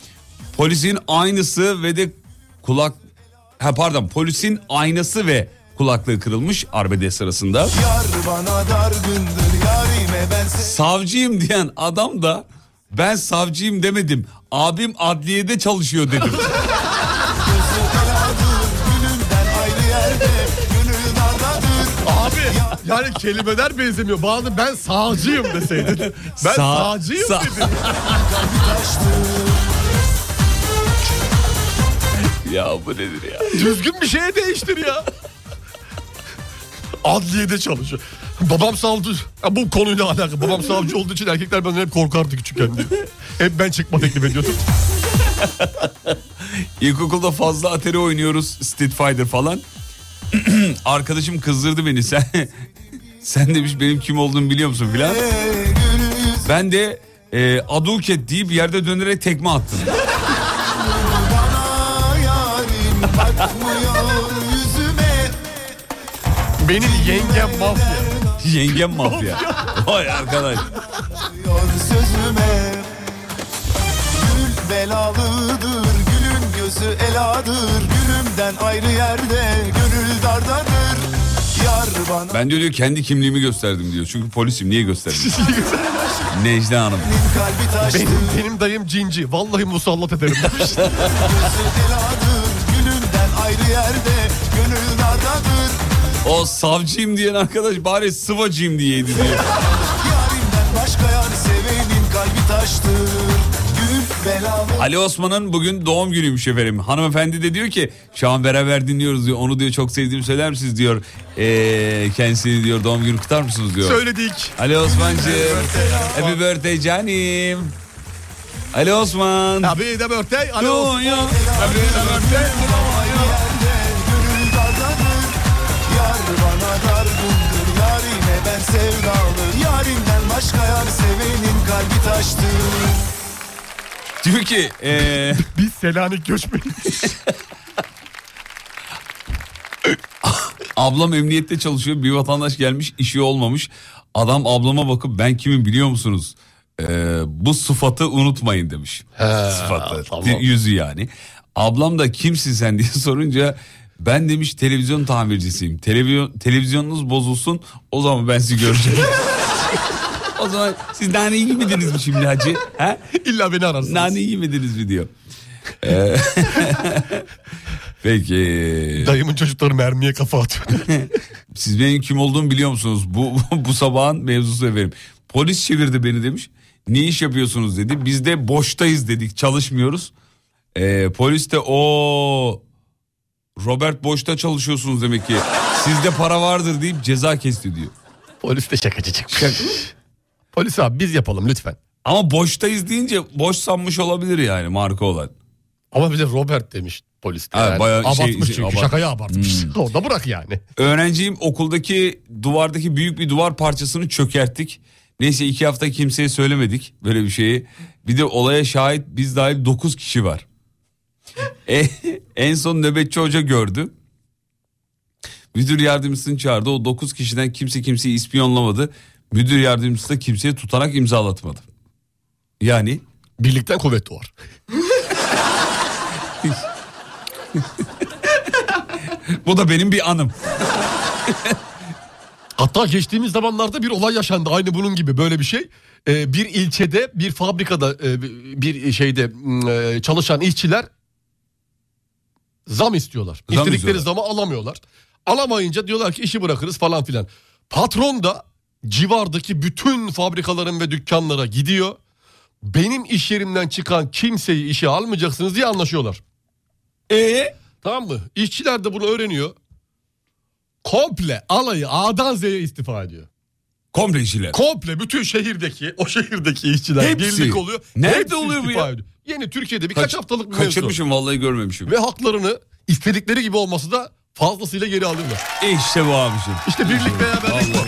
S3: Polisin aynısı ve de kulak... Ha pardon polisin aynası ve kulaklığı kırılmış arbede sırasında.
S11: Yar bana dar gündür yarime ben seni
S3: Savcıyım diyen adam da ben savcıyım demedim. Abim adliyede çalışıyor dedim.
S11: kaladır Gülünden ayrı yerde gönül dardadır
S4: Abi yani kelimeler benzemiyor. Bazı ben sağcıyım deseydin. Ben
S3: Sağ-
S4: sağcıyım
S3: sağ-
S4: dedim.
S3: ya bu nedir ya?
S4: Düzgün bir şeye değiştir ya. Adliyede çalışıyor. Babam savcı. Ya bu konuyla alakalı. Babam savcı olduğu için erkekler benden hep korkardı küçükken diyor. Hep ben çıkma teklif ediyordum.
S3: İlkokulda fazla atari oynuyoruz. Street Fighter falan. Arkadaşım kızdırdı beni. Sen sen demiş benim kim olduğumu biliyor musun filan. Ben de e, aduket deyip yerde dönerek tekme attım.
S11: Bana yarim bakmıyor yüzüme
S4: Benim yengem mafya.
S3: Yengem mafya. Vay arkadaş.
S11: Yar sözüme Gül belalıdır gülün gözü eladır Gülümden ayrı yerde gönül dardadır Yar bana
S3: Ben diyor, diyor kendi kimliğimi gösterdim diyor. Çünkü polisim niye gösterdim? Necla Hanım.
S11: kalbi taştır
S4: Benim, benim dayım cinci. Vallahi musallat ederim.
S11: Gözü eladır gülünden ayrı yerde gönül dardadır
S3: O savcıyım diyen arkadaş bari sıvacıyım diyeydi diyor.
S13: Başka yar sevenin kalbi taştır Gül bela
S3: Ali Osman'ın bugün doğum günüymüş efendim. Hanımefendi de diyor ki şu an beraber dinliyoruz diyor. Onu diyor çok sevdiğimi söyler misiniz diyor. Ee, kendisini diyor doğum günü kutlar mısınız diyor.
S4: Söyledik.
S3: Ali Osman'cığım. Happy birthday canım. Ali Osman.
S4: Happy de birthday. Ali Osman.
S3: Do you- Happy birthday.
S13: gönül darlanır Yar bana dar buldur Yarine ben sevdalı Yarimden başka yar sevenin kalbi taştır
S3: Diyor ki ee,
S4: Biz Selanik göçmeniz.
S3: ablam emniyette çalışıyor. Bir vatandaş gelmiş işi olmamış. Adam ablama bakıp ben kimim biliyor musunuz? Ee, bu sıfatı unutmayın demiş. sıfatı.
S4: tamam.
S3: Yüzü yani. Ablam da kimsin sen diye sorunca ben demiş televizyon tamircisiyim. Televizyon, televizyonunuz bozulsun o zaman ben sizi göreceğim. o zaman siz nane yemediniz mi şimdi hacı? Ha?
S4: İlla beni ararsınız.
S3: Nane yemediniz mi diyor. Ee, Peki.
S4: Dayımın çocukları mermiye kafa atıyor.
S3: Siz benim kim olduğumu biliyor musunuz? Bu bu sabahın mevzusu efendim. Polis çevirdi beni demiş. Ne iş yapıyorsunuz dedi. Biz de boştayız dedik çalışmıyoruz. Ee, polis de o Robert boşta çalışıyorsunuz demek ki. Sizde para vardır deyip ceza kesti diyor.
S4: Polis de şakacı çıkmış. Polis abi biz yapalım lütfen.
S3: Ama boştayız deyince boş sanmış olabilir yani marka olan.
S4: Ama bize Robert demiş polis. de
S3: Ha,
S4: yani.
S3: bayağı şey-
S4: abartmış
S3: şey-
S4: çünkü
S3: abart- Hmm.
S4: şakayı abartmış. Orada bırak yani.
S3: Öğrenciyim okuldaki duvardaki büyük bir duvar parçasını çökerttik. Neyse iki hafta kimseye söylemedik böyle bir şeyi. Bir de olaya şahit biz dahil 9 kişi var. E, en son nöbetçi hoca gördü. Müdür yardımcısını çağırdı. O 9 kişiden kimse kimseyi ispiyonlamadı. Müdür yardımcısı da kimseye tutanak imzalatmadı. Yani
S4: Birlikten kuvvet doğar.
S3: bu da benim bir anım.
S4: Hatta geçtiğimiz zamanlarda bir olay yaşandı aynı bunun gibi böyle bir şey. Ee, bir ilçede bir fabrikada e, bir şeyde mm, e, çalışan işçiler zam istiyorlar.
S3: Zam
S4: İstedikleri
S3: istiyorlar.
S4: zamı alamıyorlar. Alamayınca diyorlar ki işi bırakırız falan filan. Patron da civardaki bütün fabrikaların ve dükkanlara gidiyor. Benim iş yerimden çıkan kimseyi işe almayacaksınız diye anlaşıyorlar.
S3: E
S4: Tamam mı? İşçiler de bunu öğreniyor. Komple alayı A'dan Z'ye istifa ediyor.
S3: komple işçiler.
S4: Komple bütün şehirdeki o şehirdeki işçiler
S3: Hepsi.
S4: birlik oluyor.
S3: Nerede
S4: Hepsi
S3: oluyor bu
S4: istifa
S3: ya?
S4: ediyor. Yeni Türkiye'de birkaç
S3: Kaç-
S4: haftalık bir mevzu.
S3: Kaçırmışım vallahi görmemişim.
S4: Ve haklarını istedikleri gibi olması da fazlasıyla geri alıyorlar.
S3: İşte bu abiciğim.
S4: İşte birlik beraberlik bu.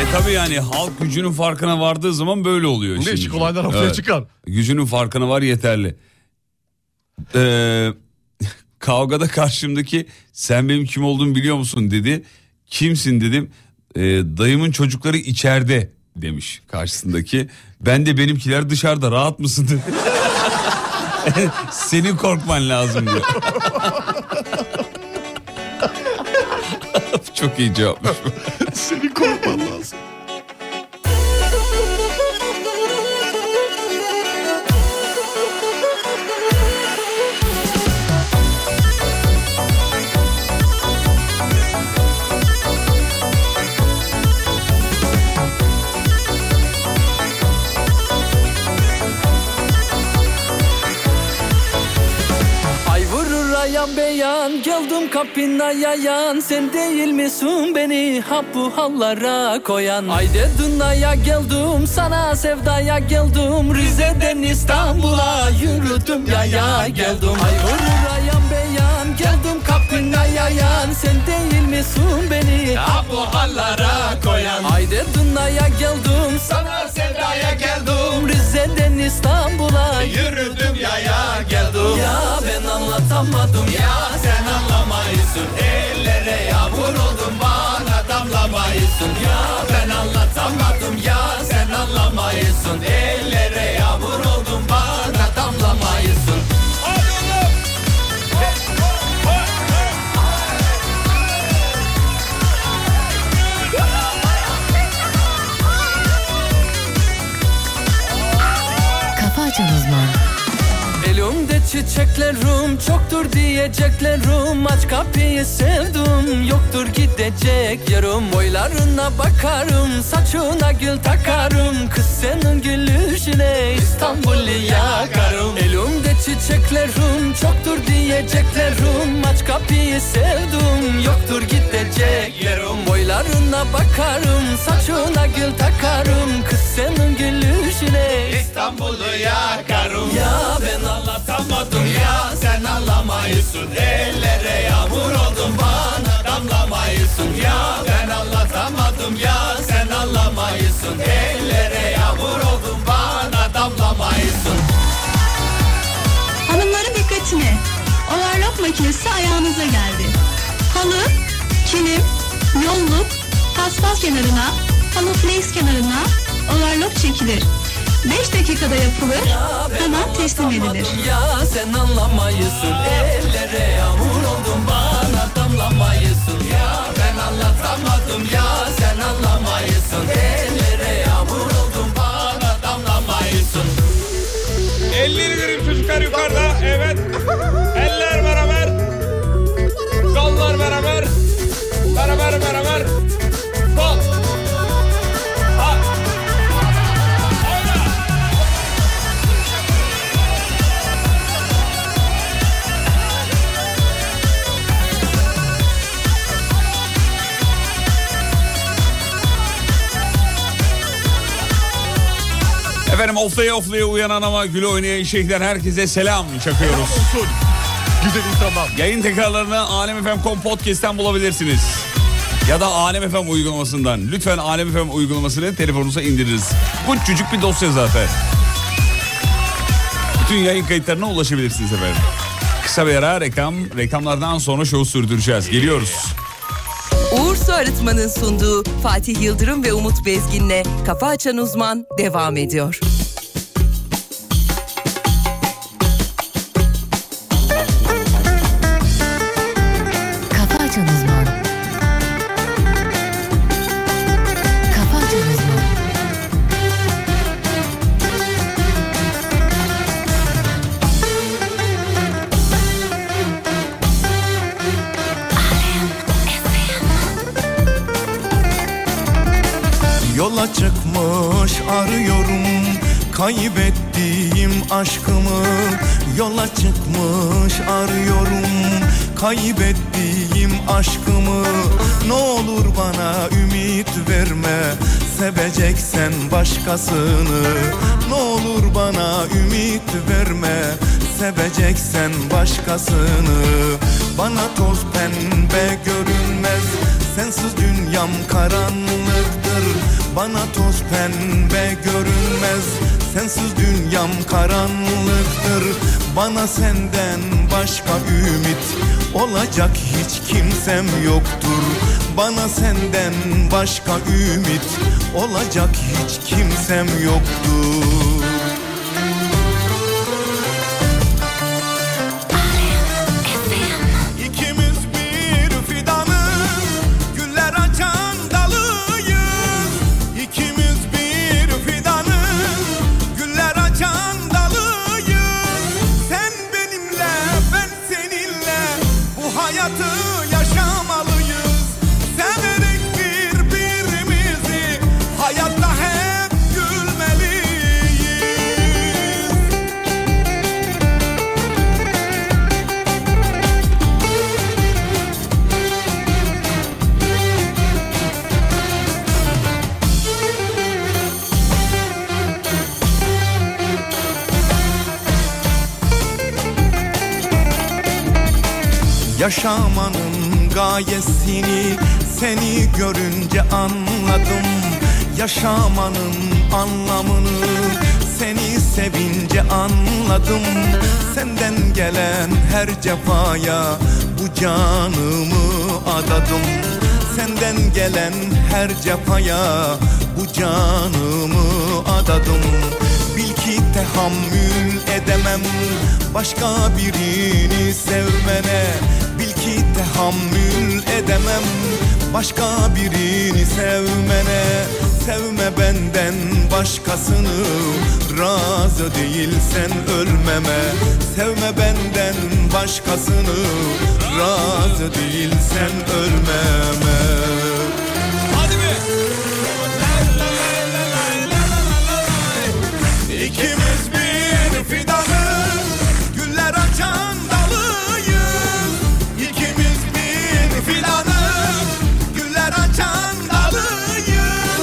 S3: E tabi yani halk gücünün farkına vardığı zaman böyle oluyor. şimdi.
S4: Değişik olaylar ortaya
S3: Evet.
S4: çıkar.
S3: Gücünün farkına var yeterli. Ee, kavgada karşımdaki sen benim kim olduğumu biliyor musun dedi. Kimsin dedim. Ee, dayımın çocukları içeride demiş karşısındaki. Ben de benimkiler dışarıda rahat mısın dedi. Senin korkman lazım diyor. Çok iyi cevapmış.
S4: Seni korkman lazım.
S14: Ay vurur ayan beyan Geldim kapına yayan Sen değil misin beni hap bu hallara koyan Ay dedin aya geldim Sana sevdaya geldim Rize'den İstanbul'a Yürüdüm yaya geldim Ay vurur ayan beyan Geldim kapına yayan Sen değil misin beni hap bu hallara koyan Ay dedin aya geldim Sana sevdaya geldim Rize'den İstanbul'a Yürüdüm yaya geldim Ya ben anlatamadım Ya sen anlamayısın Ellere yağmur oldum Bana damlamayısın Ya ben anlatamadım Ya sen anlamayısın Ellere yağmur oldum Bana damlamayısın
S2: Kafa Açan Uzman
S14: Diyeceklerim çoktur diyeceklerim Aç kapıyı sevdim Yoktur gidecek yarım Boylarına bakarım Saçına gül takarım Kız senin gülüşüne İstanbul'u yakarım Elimde çiçeklerim Çoktur diyeceklerim Aç kapıyı sevdim Yoktur gidecek yarım Boylarına bakarım Saçına gül takarım Kız senin gülüşüne
S7: İstanbul'u yakarım Ya ben anlatamadım ya Sen anlamayısın Ellere yağmur oldun bana damlamayısın Ya ben anlatamadım ya Sen anlamayısın Ellere yağmur oldun bana damlamayısın
S15: Hanımların dikkatine. Overlock makinesi ayağınıza geldi. Halı, kilim, yolluk, paspas kenarına, halı flex kenarına overlock çekilir. 5 dakikada yapılır, hemen teslim edilir.
S14: Ya sen anlamayısın Ellere yağmur oldun bana damlamayısın Ya ben anlatamadım ya sen anlamayısın Ellere yağmur oldun bana damlamayısın
S3: Elleri verin çocuklar yukarıda. Evet. Eller beraber. Kollar beraber. Beraber beraber. Kol. Ha. Efendim oflaya oflaya uyanan ama gülü oynayan şehirden herkese selam çakıyoruz. Güzelim tamam. Yayın tekrarlarını alemfm.com podcast'ten bulabilirsiniz. Ya da Alem FM uygulamasından. Lütfen Alem FM uygulamasını telefonunuza indiriniz. Bu küçücük bir dosya zaten. Bütün yayın kayıtlarına ulaşabilirsiniz efendim. Kısa bir ara reklam, reklamlardan sonra şovu sürdüreceğiz. Geliyoruz.
S1: Uğur Su Arıtma'nın sunduğu Fatih Yıldırım ve Umut Bezgin'le Kafa Açan Uzman devam ediyor.
S16: Kafa açan uzman. Kafa açan uzman.
S17: Yola çıkmış arıyorum kaybettiğim aşkımı Yola çıkmış arıyorum kaybettiğim aşkımı Ne olur bana ümit verme seveceksen başkasını Ne olur bana ümit verme seveceksen başkasını Bana toz pembe görünmez sensiz dünyam karanlıktır bana toz pembe görünmez Sensiz dünyam karanlıktır Bana senden başka ümit Olacak hiç kimsem yoktur Bana senden başka ümit Olacak hiç kimsem yoktur İkimiz bir fidanın Güller açan dalıyız İkimiz bir fidanın Güller açan dalıyız Sen benimle ben seninle Bu hayatı yaşamalıyız Severek birbirimizi Hayatta hep gülmeliyiz Yaşamanın gayesini seni görünce anladım Yaşamanın anlamını seni sevince anladım Senden gelen her cefaya bu canımı adadım Senden gelen her cefaya bu canımı adadım Bil ki tahammül edemem başka birini sevmene Bil ki tahammül edemem başka birini sevmene Sevme benden başkasını Razı değilsen ölmeme Sevme benden başkasını Razı değilsen ölmeme Hadi
S18: İkimiz bir fidanın güller açan dalıyız. İkimiz bir fidanın güller açan dalıyız.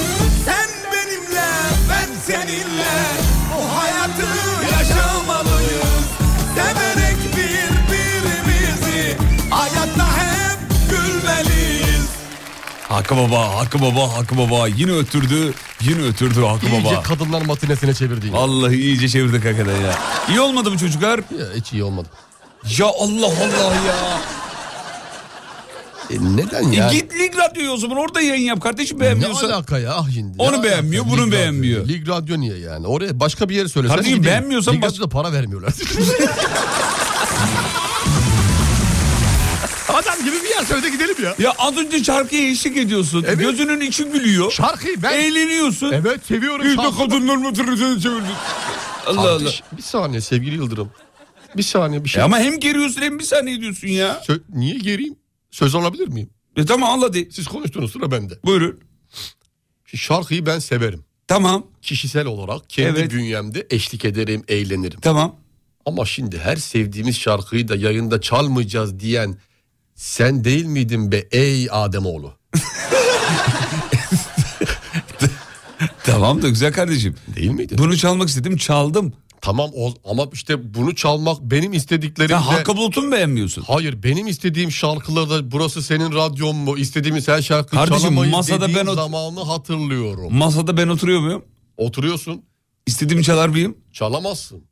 S18: Sen benimle ben seninle bu hayatı yaşamalıyız. Severek birbirimizi hayatta hep gülmeliyiz.
S3: Hakkı Baba, Hakkı Baba, Hakkı Baba yine öttürdü, yine öttürdü Hakkı
S4: İyice
S3: Baba.
S4: kadınlar matinesine çevirdi. yine.
S3: Vallahi iyice çevirdik hakikaten ya. İyi olmadı mı çocuklar?
S4: Ya, hiç iyi olmadı.
S3: Ya Allah Allah ya.
S4: E, neden ya?
S3: E git Lig Radyo'ya o zaman orada yayın yap kardeşim beğenmiyorsa.
S4: Ne alaka ya? Ah şimdi.
S3: Onu
S4: Ne alaka?
S3: beğenmiyor, bunu
S4: Lig Radyo.
S3: beğenmiyor.
S4: Lig Radyo niye yani? Oraya başka bir yere söylesen.
S3: Kardeşim
S4: gideyim.
S3: beğenmiyorsan
S4: Lig
S3: baş-
S4: Radyo'da para vermiyorlar.
S3: Adam gibi bir yer söyle gidelim ya. Ya az önce şarkıya eşlik ediyorsun. Gözünün içi gülüyor.
S4: Şarkıyı ben-
S3: Eğleniyorsun.
S4: Evet seviyorum.
S3: Bir de
S4: şarkı.
S3: kadınlar mı çevirdi. Allah Allah.
S4: Kardeş, Bir saniye sevgili Yıldırım. Bir saniye bir şey.
S3: E ama hem geriyorsun hem bir saniye diyorsun ya.
S4: Sö- niye geriyim? Söz alabilir miyim?
S3: E tamam al hadi.
S4: Siz konuştunuz sıra bende.
S3: Buyurun.
S4: Şarkıyı ben severim.
S3: Tamam.
S4: Kişisel olarak kendi
S3: Evet.
S4: bünyemde eşlik ederim, eğlenirim.
S3: Tamam.
S4: Ama şimdi her sevdiğimiz şarkıyı da yayında çalmayacağız diyen sen değil miydin be ey Ademoğlu?
S3: Tamam da güzel kardeşim.
S4: Değil miydin?
S3: Bunu çalmak istedim çaldım.
S4: Tamam o- ama işte bunu çalmak benim istediklerim
S3: Sen Hakkı Bulut'u mu beğenmiyorsun?
S4: Hayır benim istediğim şarkılarda burası senin radyon mu istediğimiz her şarkıyı
S3: Kardeşim,
S4: çalamayız
S3: masada
S4: dediğin
S3: ben ot-
S4: zamanı hatırlıyorum.
S3: Masada ben oturuyor muyum?
S4: Oturuyorsun.
S3: İstediğimi çalar mıyım?
S4: Çalamazsın.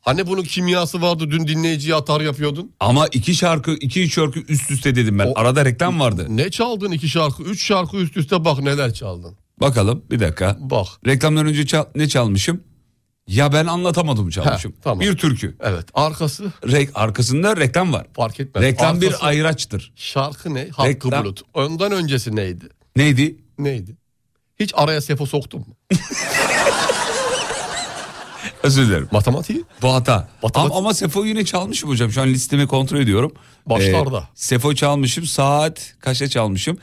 S4: Hani bunun kimyası vardı dün dinleyiciye atar yapıyordun.
S3: Ama iki şarkı, iki şarkı üst üste dedim ben. Arada reklam vardı.
S4: Ne çaldın iki şarkı? Üç şarkı üst üste bak neler çaldın.
S3: Bakalım bir dakika.
S4: Bak.
S3: Reklamdan önce çal- ne çalmışım? Ya ben anlatamadım çalmışım.
S4: Heh, tamam.
S3: Bir türkü.
S4: Evet. Arkası?
S3: Re- arkasında reklam var.
S4: Fark etmez.
S3: Reklam
S4: Arkası-
S3: bir ayraçtır.
S4: Şarkı ne? Hakkı
S3: Reklam-
S4: Bulut. Ondan öncesi neydi?
S3: Neydi?
S4: Neydi? Hiç araya sefo soktun mu?
S3: Özür dilerim.
S4: Matematiği?
S3: Bu hata.
S4: Matematik-
S3: Ama, ama Sefo yine çalmışım hocam. Şu an listemi kontrol ediyorum. Ee,
S4: Başlarda.
S3: Sefo çalmışım. Saat kaçta çalmışım?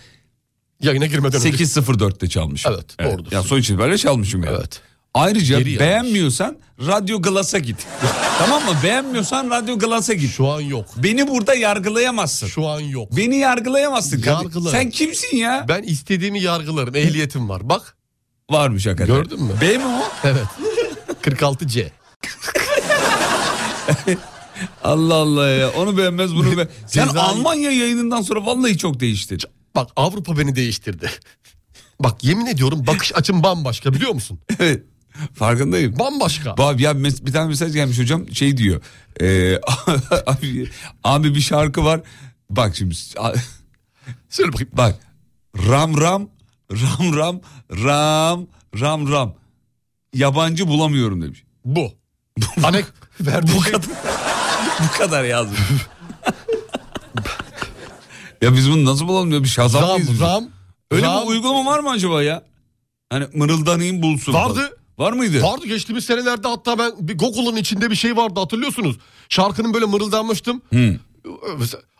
S4: Yayına girmeden önce.
S3: 8.04'te çalmışım.
S4: Evet, doğrudur.
S3: Ya sonuç itibariyle çalmışım yani. Evet. Ayrıca
S4: Geri yazmış.
S3: beğenmiyorsan Radyo Glass'a git. tamam mı? Beğenmiyorsan Radyo Glass'a git.
S4: Şu an yok.
S3: Beni burada yargılayamazsın.
S4: Şu an yok.
S3: Beni yargılayamazsın. kardeşim.
S4: Yargılarım.
S3: Sen kimsin ya?
S4: Ben istediğimi yargılarım. Ehliyetim var. Bak.
S3: Varmış hakikaten.
S4: Gördün mü?
S3: B mi o?
S4: Evet. 46C.
S3: Allah Allah ya. Onu beğenmez bunu be. Sen
S4: Cezayir.
S3: Almanya yayınından sonra vallahi çok değiştin.
S4: Bak Avrupa beni değiştirdi. Bak yemin ediyorum bakış açım bambaşka biliyor musun?
S3: Evet. Farkındayım.
S4: Bambaşka.
S3: Bab ya mes- bir tane mesaj gelmiş hocam şey diyor. Ee, abi, abi bir şarkı var. Bak şimdi
S4: Söyle bakayım.
S3: bak. Ram ram ram ram ram ram ram. Yabancı bulamıyorum demiş.
S4: Bu. Hani Anek verdi.
S3: Bu kadar. bu kadar yazmış. ya biz bunu nasıl bulalım ya bir şazam
S4: Ram
S3: mıyız biz?
S4: ram.
S3: Öyle
S4: ram.
S3: bir uygulama var mı acaba ya? Hani mırıldanayım bulsun. falan.
S4: Vardı.
S3: Var mıydı?
S4: Vardı geçtiğimiz senelerde hatta ben bir Google'ın içinde bir şey vardı hatırlıyorsunuz. Şarkının böyle mırıldanmıştım.
S3: Hı.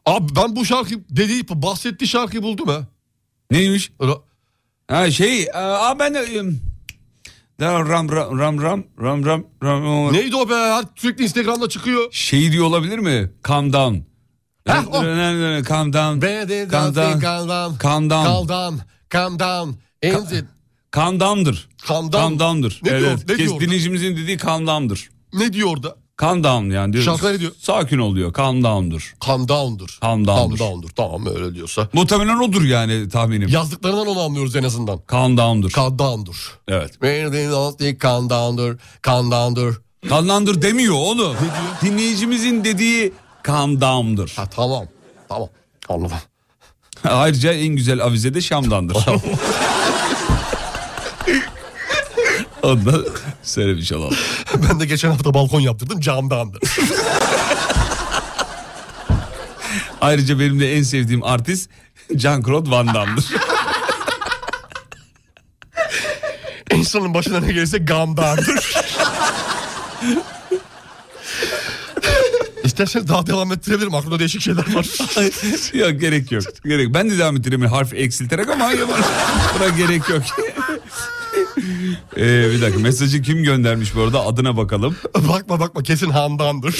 S4: Abi ben bu şarkı dediği bahsettiği şarkıyı buldum ha.
S3: Neymiş?
S4: Ra-
S3: Ha şey, e, aa ben de em, da ram ram ram ram ram ram ram.
S4: Neydi o be? Her- Sürekli Instagram'da çıkıyor.
S3: Şey diyor olabilir mi? Calm down.
S4: Heh, o.
S3: Calm down.
S4: Calm
S3: Calm
S4: down.
S3: down.
S4: Calm
S3: Calm down.
S4: down. Calm down. And it-
S3: Calm down'dır.
S4: Calm down.
S3: Calm down'dır.
S4: Ne diyor-
S3: evet.
S4: ne
S3: Kes
S4: diyor?
S3: dinleyicimizin dediği calm down'dır.
S4: Ne diyor orada?
S3: Calm down yani diyoruz.
S4: Şarkı ne diyor?
S3: Sakin ol diyor. Calm down'dur.
S4: Calm down'dur.
S3: Calm down'dur.
S4: Tamam öyle diyorsa.
S3: Muhtemelen odur yani tahminim.
S4: Yazdıklarından onu anlıyoruz en azından.
S3: Calm down'dur.
S4: Calm down'dur.
S3: evet.
S4: Calm down'dur. Calm down'dur.
S3: Calm down'dur demiyor onu. Dinleyicimizin dediği calm down'dur.
S4: Ha tamam. Tamam. Anladım.
S3: Ayrıca en güzel avize de Şam'dandır. Onu da söylemiş olalım.
S4: ben de geçen hafta balkon yaptırdım camdandı.
S3: Ayrıca benim de en sevdiğim artist Jean-Claude Van Damme'dır.
S4: İnsanın başına ne gelirse gamdardır. İsterseniz daha devam ettirebilirim. Aklımda değişik şeyler var.
S3: yok gerek yok. Gerek. Ben de devam ettireyim harf eksilterek ama yapar. Buna gerek yok. Ee, bir dakika mesajı kim göndermiş bu arada adına bakalım.
S4: bakma bakma kesin Handan'dır.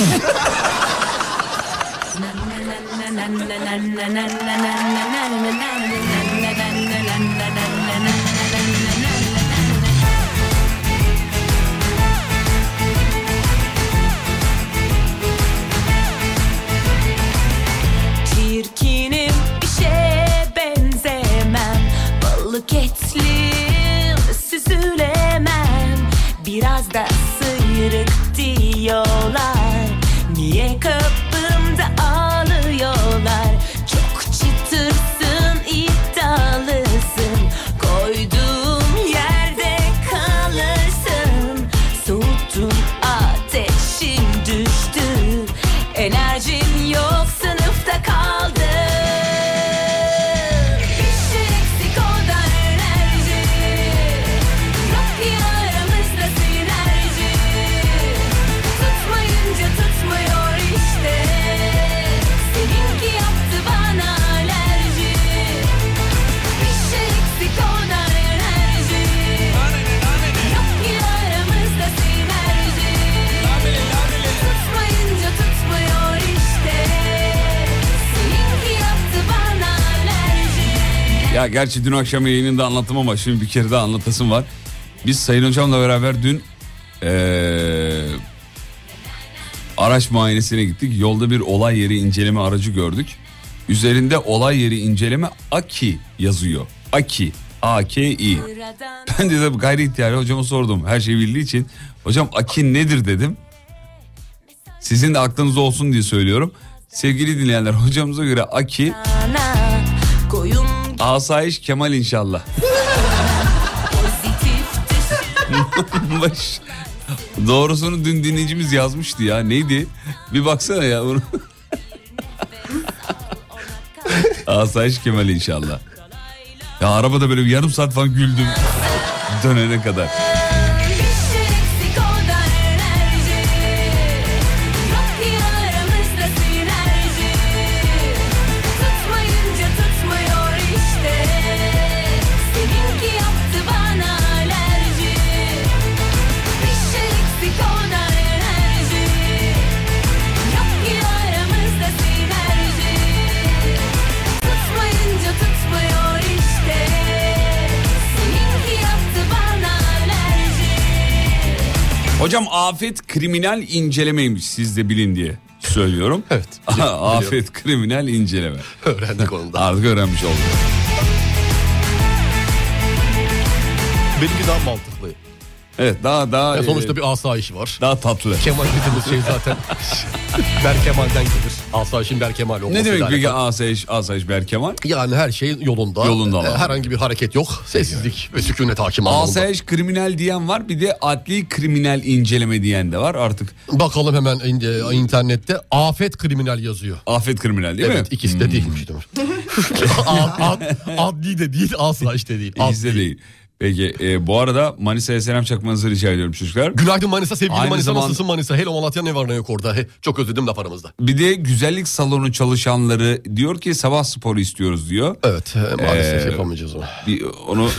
S2: Çirkinim bir şeye benzemem Balık etli süzülemem Biraz da sıyrık diyorlar Niye kapımda ağlıyorlar Çok çıtırsın iddialısın Koyduğum yerde kalırsın Soğuttun ateşim düştü Enerjin yok sınıfta kaldı Bir şey eksik o da enerji Yok ya aramızda sinerji Tutmayınca tutmuyor işte Seninki yaptı bana alerji Bir şey eksik o da enerji Yok ya aramızda sinerji Tutmayınca tutmuyor işte Seninki yaptı bana alerji
S3: Ya gerçi dün akşam yayınında anlattım ama şimdi bir kere daha anlatasım var. Biz Sayın Hocam'la beraber dün eee, araç muayenesine gittik. Yolda bir olay yeri inceleme aracı gördük. Üzerinde olay yeri inceleme AKI yazıyor. AKI. A-K-I. Ben de tabii gayri ihtiyarı hocama sordum. Her şey bildiği için. Hocam AKI nedir dedim. Sizin de aklınızda olsun diye söylüyorum. Sevgili dinleyenler hocamıza göre AKI
S2: Ana koyun
S3: Asayiş Kemal inşallah. Baş- Doğrusunu dün dinleyicimiz yazmıştı ya. Neydi? Bir baksana ya bunu. Asayiş Kemal inşallah. Ya arabada böyle bir yarım saat falan güldüm. Dönene kadar.
S2: eksik o da enerji Yok ya aramızda sinerji Tutmayınca tutmuyor işte Seninki yaptı bana alerji Bir şey eksik o da enerji Yok ya aramızda sinerji Tutmayınca tutmuyor işte Seninki yaptı bana alerji
S3: Hocam afet kriminal incelemeymiş siz de bilin diye söylüyorum. Evet. afet kriminal inceleme. Öğrendik onu da. Artık öğrenmiş olduk.
S4: Benimki daha mantıklı.
S3: Evet daha daha. e,
S4: Ya sonuçta
S3: bir asayiş var. Daha tatlı.
S4: Kemal dediğimiz şey zaten Berkemal'den gelir. Asayişin Berkemal olması.
S3: Ne demek peki asayiş, asayiş Berkemal?
S4: Yani her şey yolunda.
S3: Yolunda
S4: E,
S3: var.
S4: Herhangi bir hareket yok. Sessizlik ve sükunet hakim anlamında.
S3: Asayiş kriminal diyen var bir de adli kriminal inceleme diyen de var artık.
S4: Bakalım hemen in- internette afet kriminal yazıyor.
S3: Afet kriminal değil
S4: evet,
S3: mi?
S4: ikisi de değilmiş. demek. Ad- ad- adli de değil asayiş de değil.
S3: İkisi de değil. Peki e, bu arada Manisa'ya selam çakmanızı rica ediyorum çocuklar.
S4: Günaydın Manisa, sevgili
S3: Aynı
S4: Manisa,
S3: zamanda-
S4: nasılsın Manisa? Hello Malatya ne var ne yok orada? He, çok özledim laf aramızda.
S3: Bir de güzellik salonu çalışanları diyor ki sabah sporu istiyoruz diyor.
S4: Evet e, maalesef
S3: yapamayacağız onu. onu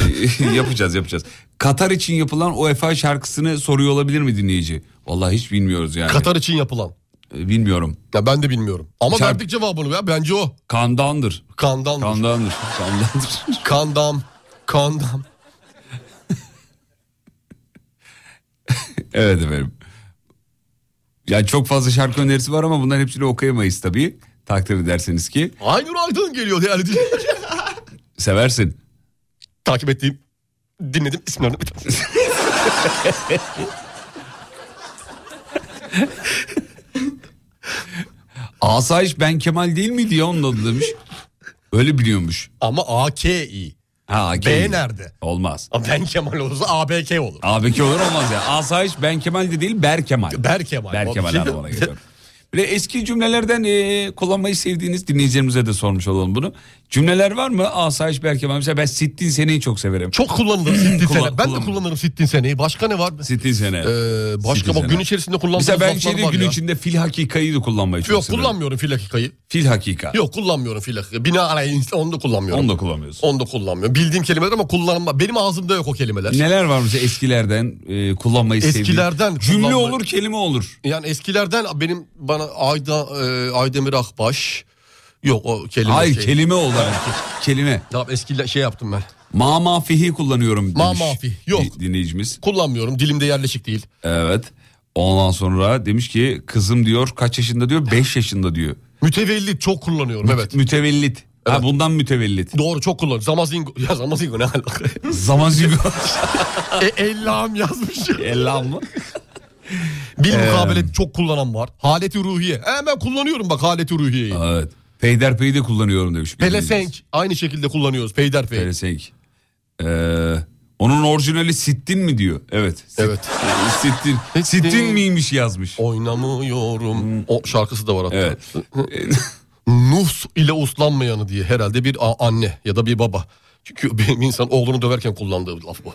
S3: yapacağız yapacağız. Katar için yapılan UEFA şarkısını soruyor olabilir mi dinleyici? Vallahi hiç bilmiyoruz yani.
S4: Katar için yapılan.
S3: E, Bilmiyorum.
S4: Ya ben de bilmiyorum. Ama
S3: Şarkı-
S4: verdik cevabını ya bence o.
S3: Kandandır.
S4: Kandandır.
S3: Kandandır. Kandandır.
S4: Kandam. Kandam.
S3: Evet efendim. Yani çok fazla şarkı önerisi var ama bunların hepsini okuyamayız tabii. Takdir ederseniz ki.
S4: Aynur Aydın geliyor değerli dinleyiciler.
S3: Seversin.
S4: Takip ettiğim, dinledim isimlerini.
S3: Asayiş Ben Kemal değil miydi ya onun adı demiş. Öyle biliyormuş.
S4: Ama AKI.
S3: Ha, AKI.
S4: B nerede?
S3: Olmaz.
S4: Ben Kemal olursa ABK olur.
S3: ABK olur olmaz ya. Asayiş Ben Kemal de değil Berkemal.
S4: Berkemal.
S3: Berkemal
S4: Abi.
S3: adamına geliyor. Böyle eski cümlelerden e, kullanmayı sevdiğiniz dinleyicilerimize de sormuş olalım bunu. Cümleler var mı? Asayiş belki var. Mesela ben sittin seneyi çok severim.
S4: Çok kullanılır sittin sene. Ben de kullanırım sittin seneyi. Başka ne var? Ee,
S3: Sittin sene.
S4: e, başka bak gün içerisinde kullandığımız
S3: Mesela ben
S4: laflar
S3: şeyde
S4: var
S3: gün
S4: ya.
S3: içinde fil hakikayı da kullanmayı çok
S4: Yok
S3: severim.
S4: kullanmıyorum fil hakikayı.
S3: Fil hakika.
S4: Yok kullanmıyorum fil hakika. Bina arayın onu da kullanmıyorum.
S3: Onu da kullanmıyorsun.
S4: Onu da kullanmıyorum. Bildiğim kelimeler ama kullanma. Benim ağzımda yok o kelimeler.
S3: Neler var mesela eskilerden e, kullanmayı sevdiğiniz?
S4: Eskilerden
S3: Cümle
S4: kullanma-
S3: olur kelime olur.
S4: Yani eskilerden benim bana Ayda e, Aydemir Akbaş yok o kelime.
S3: Hayır
S4: şey.
S3: kelime olarak. kelime.
S4: Tamam eskiler şey yaptım ben.
S3: Ma mafihi kullanıyorum demiş.
S4: Ma mafi. Yok.
S3: di- Dinleyicimiz.
S4: Kullanmıyorum dilimde yerleşik değil.
S3: Evet. Ondan sonra demiş ki kızım diyor kaç yaşında diyor 5 yaşında diyor.
S4: Mütevellit çok kullanıyorum evet.
S3: Mütevellit. Ha, bundan mütevellit.
S4: Doğru çok kullanıyorum. Zamazingo. Ya zamazingo ne alaka?
S3: Zamazingo.
S4: e, ellam yazmış.
S3: Ellam mı? Ee,
S4: Bil mukabele çok kullanan var. Haleti ruhiye. Hemen kullanıyorum bak haleti ruhiyeyi.
S3: Evet. Peyderpey'i de kullanıyorum demiş.
S4: Pelesenk aynı şekilde kullanıyoruz peyderpey.
S3: Pelesenk. Ee, onun orijinali Sittin mi diyor? Evet. Evet. Sittin. Sittin miymiş yazmış.
S4: Oynamıyorum. O şarkısı da var hatta. Nuh ile uslanmayanı diye herhalde bir a- anne ya da bir baba. Çünkü bir insan oğlunu döverken kullandığı bir laf bu.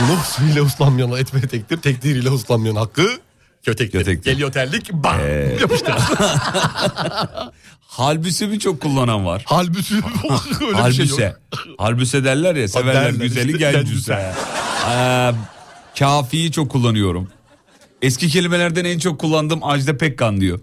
S4: Nuh ile uslanmayanı etme tektir, tekdir ile uslanmayan hakkı kötektir. Geliyor terlik, bam
S3: Ee,
S4: yapıştır.
S3: Halbüse mi çok kullanan var?
S4: Halbüse. Öyle bir şey
S3: Halbüse.
S4: yok.
S3: Halbüse derler ya severler
S4: derler
S3: güzeli
S4: işte,
S3: gencüse.
S4: gencüse.
S3: Ee, kafiyi çok kullanıyorum. Eski kelimelerden en çok kullandığım Ajda Pekkan diyor.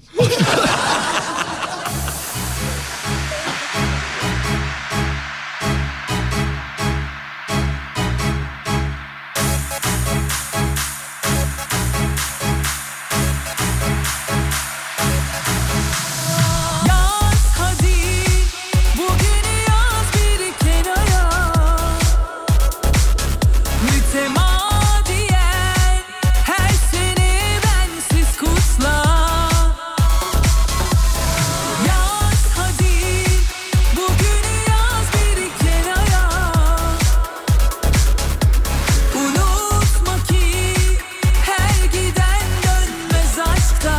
S2: Yaz hadi bugünü yaz bir kenara Mütemadiyen her sene bensiz kutla Yaz hadi bugünü yaz bir kenara Unutma ki her giden dönmez aşkta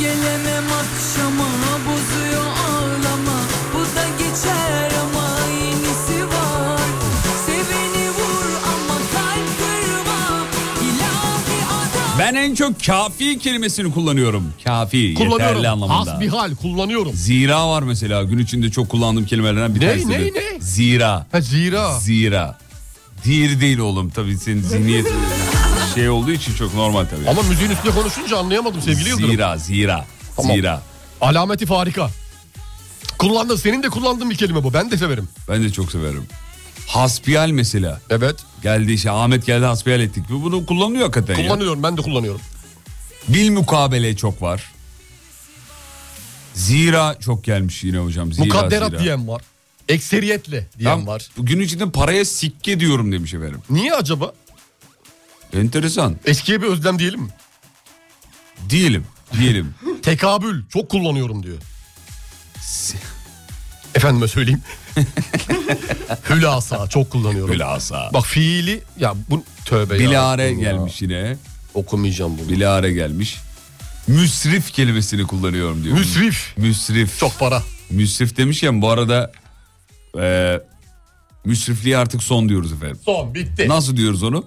S2: Gelemem akşama bozuyor ağlama Bu da geçer ama yenisi var Seveni vur ama kalp kırma İlahi adam
S3: Ben en çok kafi kelimesini kullanıyorum. Kafi
S4: Kullanıyorum.
S3: yeterli anlamında.
S4: Hasbihal kullanıyorum.
S3: Zira var mesela gün içinde çok kullandığım kelimelerden bir
S4: Ne,
S3: tanesi.
S4: ne,
S3: de.
S4: ne?
S3: Zira.
S4: Ha, zira.
S3: Zira. Dir değil oğlum tabii senin zihniyet şey olduğu için çok normal tabii.
S4: Ama müziğin üstüne konuşunca anlayamadım sevgili Yıldırım.
S3: Zira, zira,
S4: Tamam.
S3: zira.
S4: Alameti farika. Kullandın senin de kullandığın bir kelime bu. Ben de severim.
S3: Ben de çok severim. Hasbihal mesela.
S4: Evet.
S3: Geldi işte Ahmet geldi hasbihal ettik. Bu- Bunu kullanıyor hakikaten ya.
S4: Kullanıyorum ben de kullanıyorum.
S3: Bil mukabele çok var. Zira çok gelmiş yine hocam. Zira,
S4: Mukadderat
S3: zira.
S4: diyen var. Ekseriyetle diyen
S3: Tam
S4: var.
S3: Gün içinde paraya sikke diyorum demiş efendim.
S4: Niye acaba?
S3: Enteresan.
S4: Eskiye bir özlem diyelim mi?
S3: Diyelim. Diyelim.
S4: Tekabül çok kullanıyorum diyor. Efendime söyleyeyim. Hülasa çok kullanıyorum.
S3: Hülasa.
S4: Bak fiili ya bu tövbe ya.
S3: Bilare
S4: Rabbim ya.
S3: gelmiş yine.
S4: Okumayacağım bunu.
S3: Bilare gelmiş. Müsrif kelimesini kullanıyorum diyor.
S4: Müsrif.
S3: Müsrif.
S4: Çok para.
S3: Müsrif demişken bu arada e, müsrifliğe artık son diyoruz efendim.
S4: Son bitti.
S3: Nasıl diyoruz onu?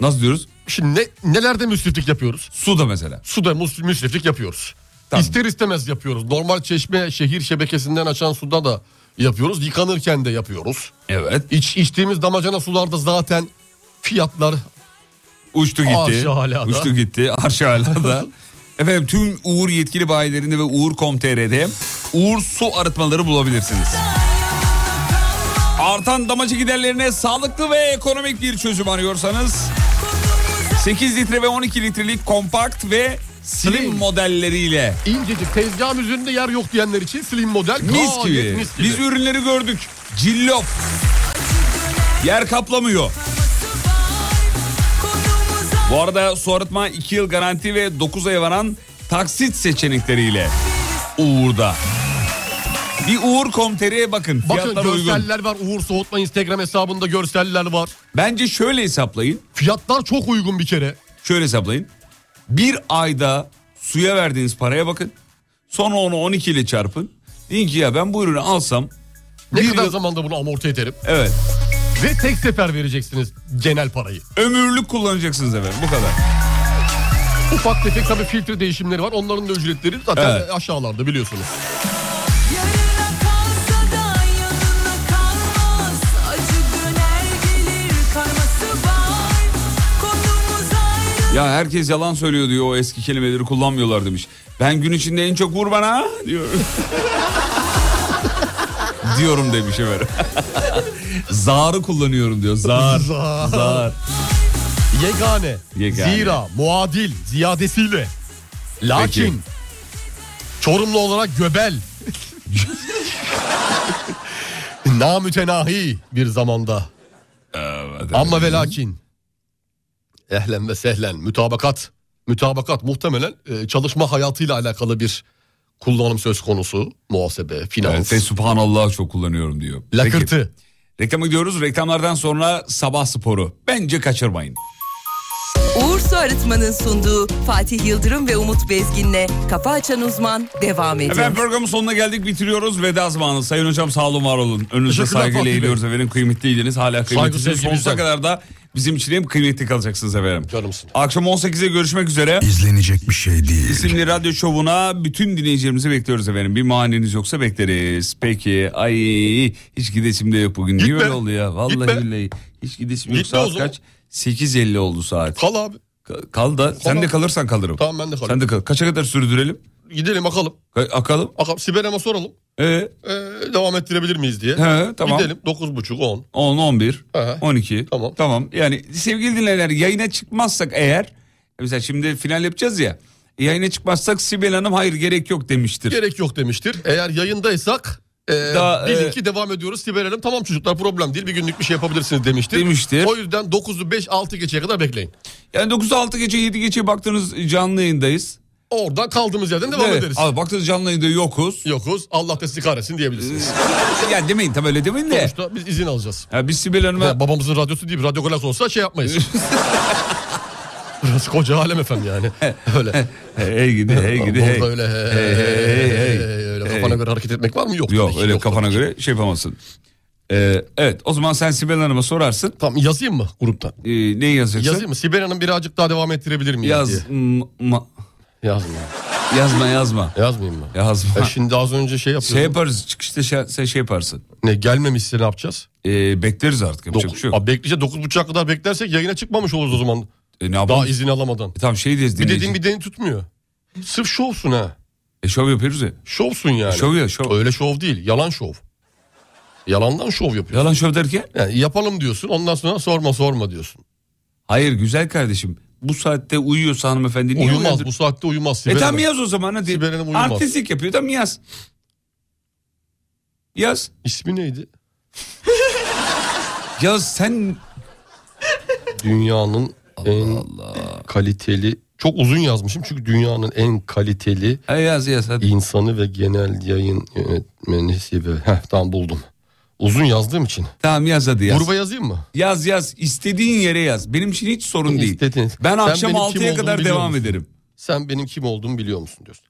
S3: Nasıl diyoruz?
S4: Şimdi ne, nelerde müsriflik yapıyoruz?
S3: Su da mesela.
S4: Suda mus- müsriflik yapıyoruz. İster istemez yapıyoruz. Normal çeşme şehir şebekesinden açan suda da yapıyoruz. Yıkanırken de yapıyoruz.
S3: Evet.
S4: İç, içtiğimiz damacana sularda zaten fiyatlar
S3: Uçtu gitti.
S4: Arşahala'da.
S3: Uçtu gitti. Arşahala'da. Efendim tüm Uğur yetkili bayilerinde ve Uğur.com.tr'de Uğur su arıtmaları bulabilirsiniz. Artan damacı giderlerine sağlıklı ve ekonomik bir çözüm arıyorsanız 8 litre ve 12 litrelik kompakt ve slim modelleriyle
S4: incecik tezgahın üzerinde yer yok diyenler için slim model.
S3: mis
S4: gayet
S3: gibi.
S4: mis
S3: Biz ürünleri gördük. Cillop. Yer kaplamıyor. Bu arada su arıtma 2 yıl garanti ve 9 aya varan taksit seçenekleriyle Uğur'da. Bir Uğur komteriye bakın.
S4: Bakın
S3: Fiyatlar uygun.
S4: görseller var. Uğur Soğutma Instagram hesabında görseller var.
S3: Bence şöyle hesaplayın.
S4: Fiyatlar çok uygun bir kere.
S3: Şöyle hesaplayın. Bir ayda suya verdiğiniz paraya bakın. Sonra onu 12 ile çarpın. Deyin ki ya ben bu ürünü alsam...
S4: Ne kadar zamanda bunu amorti ederim.
S3: Evet.
S4: Ve tek sefer vereceksiniz genel parayı.
S3: Ömürlük kullanacaksınız efendim bu kadar.
S4: Ufak tefek tabii filtre değişimleri var. Onların da ücretleri zaten
S3: Evet.
S4: aşağılarda biliyorsunuz.
S2: Acı döner gelir karması var
S3: Ya herkes yalan söylüyor diyor o eski kelimeleri kullanmıyorlar demiş. Ben gün içinde en çok vur bana diyor. Diyorum demiş efendim. Zarı kullanıyorum diyor. Zar.
S4: Zar.
S3: Zar.
S4: Yegane,
S3: Yegane.
S4: zira, muadil, ziyadesiyle. Lakin,
S3: Peki.
S4: Çorumlu olarak göbel. Namütenahi bir zamanda. Ama ve lakin. Ehlen ve sehlen, mütabakat. Mütabakat muhtemelen e, çalışma hayatıyla alakalı bir kullanım söz konusu. Muhasebe,
S3: Evet,
S4: finans.
S3: ve subhanallah çok kullanıyorum diyor.
S4: Lakırtı.
S3: Peki, reklama gidiyoruz. Reklamlardan sonra sabah sporu. Bence kaçırmayın.
S1: Uğur Su Arıtma'nın sunduğu Fatih Yıldırım ve Umut Bezgin'le Kafa Açan Uzman devam ediyor.
S3: Efendim programın sonuna geldik bitiriyoruz. Veda zamanı. Sayın hocam sağ olun var olun. Önünüzde
S4: Teşekkürler
S3: saygıyla
S4: Fatih Bey.
S3: eğiliyoruz efendim. Kıymetliydiniz. Hala kıymetlisiniz.
S4: sevgi
S3: Sonsuza
S4: bizden.
S3: kadar da bizim için hem kıymetli kalacaksınız efendim. Akşam 18'e görüşmek üzere.
S19: İzlenecek bir şey değil.
S3: İsimli radyo şovuna bütün dinleyicilerimizi bekliyoruz efendim. Bir maniniz yoksa bekleriz. Peki ay hiç gidesim de yok bugün. Niye
S19: Gitme.
S3: öyle oluyor ya? Vallahi
S19: Gitme.
S3: billahi. Hiç gidesim yok.
S19: Gitme o
S3: Saat
S19: zaman.
S3: kaç? 8.50 oldu saat.
S4: Kal abi.
S3: Kal da sen
S4: Kal
S3: de
S4: abi.
S3: kalırsan kalırım.
S4: Tamam ben de kalayım.
S3: Sen de kal. Kaça kadar sürdürelim?
S4: Gidelim akalım.
S3: Ka- akalım.
S4: Akalım Sibel'e soralım. E,
S3: Ee?
S4: devam ettirebilir miyiz diye.
S3: He, tamam.
S4: Gidelim 9.30 10.
S3: 10, 11,
S4: Aha.
S3: 12. Tamam. Tamam. Yani sevgili dinleyenler yayına çıkmazsak eğer mesela şimdi final yapacağız ya. Yayına çıkmazsak Sibel Hanım hayır gerek yok demiştir.
S4: Gerek yok demiştir. E, Eğer yayındaysak e,
S3: Daha,
S4: bilin
S3: e,
S4: ki devam ediyoruz. Sibel Hanım tamam çocuklar problem değil bir günlük bir şey yapabilirsiniz demiştir.
S3: Demiştir.
S4: O yüzden 9'u 5 6 geçeye kadar bekleyin.
S3: Yani 9'u 6 gece 7 gece baktığınız canlı yayındayız.
S4: Oradan kaldığımız yerden devam
S3: Evet.
S4: ederiz.
S3: Abi baktığınız canlı yayında yokuz. Ee,
S4: Yokuz. Allah da sizi kahretsin diyebilirsiniz.
S3: ya demeyin tam öyle demeyin de.
S4: Sonuçta biz izin alacağız.
S3: Ya biz Sibel Hanım'a...
S4: babamızın radyosu değil radyo kolası olsa şey yapmayız. Burası koca alem efendim yani. Öyle.
S3: hey gidi hey gidi hey.
S4: Orada öyle hey,
S3: Hey, hey, hey, hey.
S4: öyle kafana
S3: Hey.
S4: göre hareket etmek var mı? Yok.
S3: Yok öyle kafana göre şey yapamazsın. Ee, evet o zaman sen Sibel Hanım'a sorarsın.
S4: Tamam yazayım mı gruptan?
S3: Ee, neyi yazacaksın?
S4: Yazayım mı? Sibel Hanım birazcık daha devam ettirebilir miyim
S3: Yaz.
S4: diye.
S3: ma-
S4: Yazma.
S3: Yazma yazma.
S4: Yazmayayım mı?
S3: Yazma.
S4: E şimdi az önce şey yapıyordum.
S3: Şey yaparız çıkışta şey, sen şey yaparsın.
S4: Ne gelmemişse ne yapacağız?
S3: Ee, bekleriz artık yapacak bir şey yok.
S4: Abi bekleyeceğiz 9.30'a kadar beklersek yayına çıkmamış oluruz o zaman.
S3: E, ne yapalım?
S4: Daha izin alamadan.
S3: E, tamam şey deriz
S4: Bir
S3: dinleyici.
S4: dediğin bir dediğin tutmuyor. Sırf şovsun ha.
S3: E, şov yapıyoruz ya.
S4: Şovsun yani.
S3: Şov ya, şov.
S4: Öyle şov değil yalan şov. Yalandan şov yapıyorsun.
S3: Yalan şov derken?
S4: Yani yapalım diyorsun ondan sonra sorma sorma diyorsun.
S3: Hayır güzel kardeşim. Bu saatte uyuyorsa hanımefendi niye
S4: Uyumaz
S3: uyandır-
S4: bu saatte uyumaz.
S3: E
S4: Sibel
S3: tamam
S4: Hanım.
S3: yaz o zaman hadi.
S4: Sibel Hanım uyumaz.
S3: Artistlik yapıyor tamam yaz. Yaz.
S4: İsmi neydi?
S3: Ya sen
S4: Dünyanın en kaliteli çok uzun yazmışım çünkü dünyanın en kaliteli
S3: yaz, yaz,
S4: insanı ve genel yayın yönetmeni Sibel. Heh, tamam buldum. Uzun yazdığım için.
S3: Tamam yaz hadi yaz.
S4: Gruba yazayım mı?
S3: Yaz yaz istediğin yere yaz. Benim için hiç sorun değil. Ben
S4: Sen
S3: akşam
S4: benim kim
S3: 6'ya
S4: olduğumu
S3: kadar
S4: biliyor
S3: devam
S4: musun?
S3: ederim.
S4: Sen benim kim olduğumu biliyor musun diyorsun.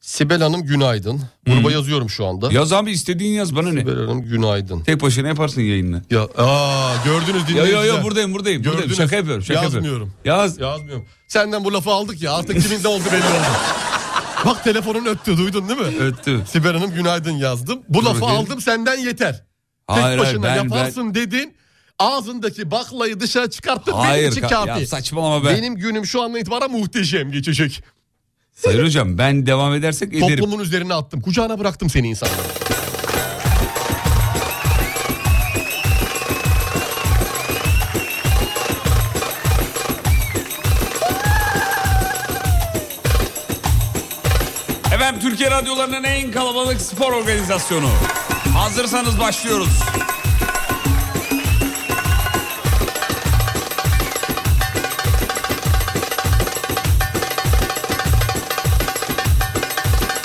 S4: Sibel Hanım günaydın. Gruba yazıyorum şu anda.
S3: Yaz abi istediğin yaz bana ne?
S4: Sibel Hanım günaydın.
S3: Tek başına yaparsın yayını.
S4: Ya aa gördünüz
S3: Yo yo
S4: dinleyiciler.
S3: yo buradayım buradayım. buradayım.
S4: Gördünüz.
S3: Şaka yapıyorum şaka
S4: Yazmıyorum.
S3: yapıyorum. Yaz.
S4: Yazmıyorum. Senden bu lafı aldık ya artık kimin ne oldu belli oldu. Bak telefonun öttü duydun değil mi?
S3: Öttü.
S4: Sibel Hanım günaydın yazdım. Bu
S3: Dur
S4: lafı
S3: bakayım.
S4: aldım senden yeter.
S3: Hayır, hayır,
S4: Tek başına
S3: ben-
S4: yaparsın dedin. Ağzındaki baklayı dışarı çıkarttın
S3: Hayır,
S4: benim için
S3: ka-
S4: kafi.
S3: ya saçmalama be.
S4: Benim günüm şu andan itibaren muhteşem geçecek.
S3: Sayın hocam ben devam edersek ederim.
S4: Toplumun üzerine attım. Kucağına bıraktım seni insanlara.
S3: Efendim Türkiye radyolarının en kalabalık spor organizasyonu. Hazırsanız başlıyoruz.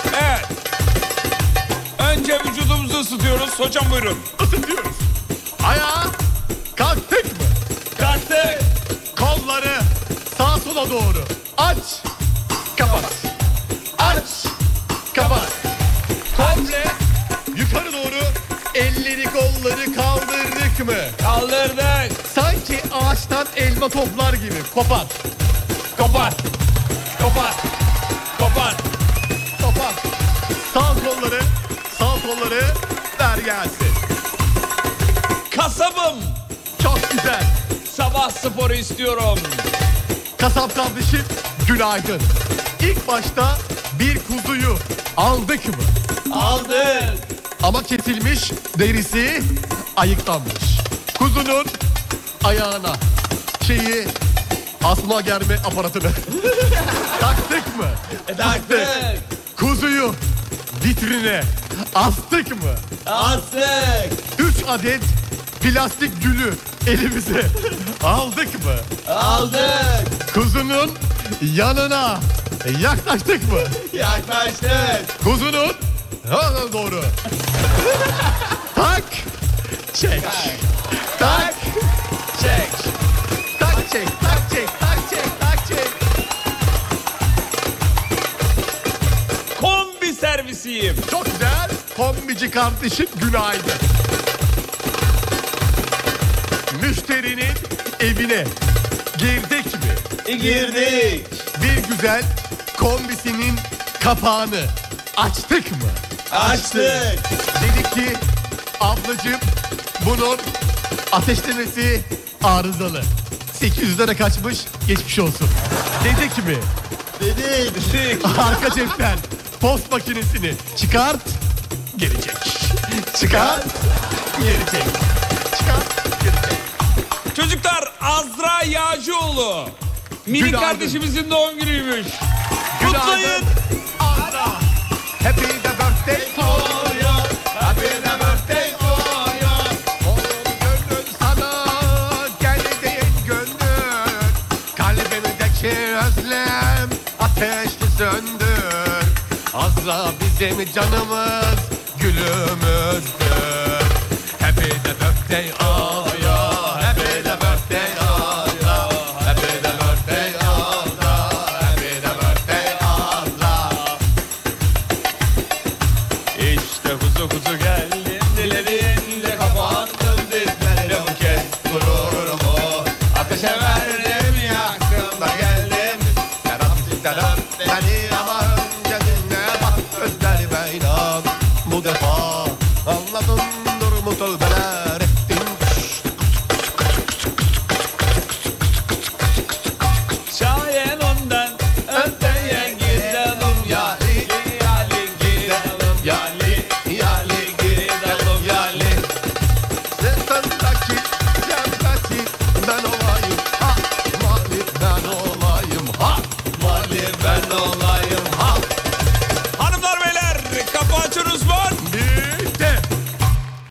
S3: Evet. Önce vücudumuzu ısıtıyoruz. Hocam buyurun.
S18: Isıtıyoruz. Ayağa kalktık mı? Kalktık. Kolları sağa sola sola doğru. Aç. Kapat. Aç. Kapat. Komple yukarı doğru elleri kolları kaldırdık mı? Kaldırdık. Sanki ağaçtan elma toplar gibi. Kopar. Kopar. Kopar. Kopar. Kopar. Sağ kolları, sağ kolları ver gelsin. Kasabım. Çok güzel. Sabah sporu istiyorum. Kasap kardeşim günaydın. İlk başta bir kuzuyu aldık mı? Aldık. Ama kesilmiş derisi ayıklanmış. Kuzunun ayağına şeyi asma germe aparatını taktık mı? E, taktık. Kuzuyu vitrine astık mı? Astık. Üç adet plastik gülü elimize aldık mı? Aldık. Kuzunun yanına yaklaştık mı? Yaklaştık. Kuzunun ha doğru. tak çek. Tak çek. Tak çek. Tak çek. Tak çek. Tak çek. Kombi servisiyim. Çok güzel. Kombici kardeşim günaydın. Müşterinin evine girdik mi? E, girdik. Bir güzel kombisinin kapağını açtık mı? Açtık. Dedik ki ablacığım bunun ateşlemesi arızalı. 800 lira kaçmış geçmiş olsun. Dedik mi? Dedik. Arka cepten post makinesini çıkart gelecek. Çıkart gelecek.
S7: Çocuklar Azra Yağcıoğlu. Mini
S18: Günaydın.
S7: kardeşimizin doğum günüymüş. Kutlayın.
S18: Happy the birthday to you. Happy the birthday to you. Oğlum gönlüm sana geldiğin gönlüm. Kalbimdeki özlem ateşli söndür. Azra bizim canımız gülümüzdür. Happy the birthday Aya. Happy the birthday Aya. Happy the birthday Aya. Happy the birthday Aya.
S7: İşte kuzu kuzu geldim dilerinde kapandım dizlerim bu kez gururumu ateşe verdim yaktım da geldim.
S18: Taraf, taraf, Beni ama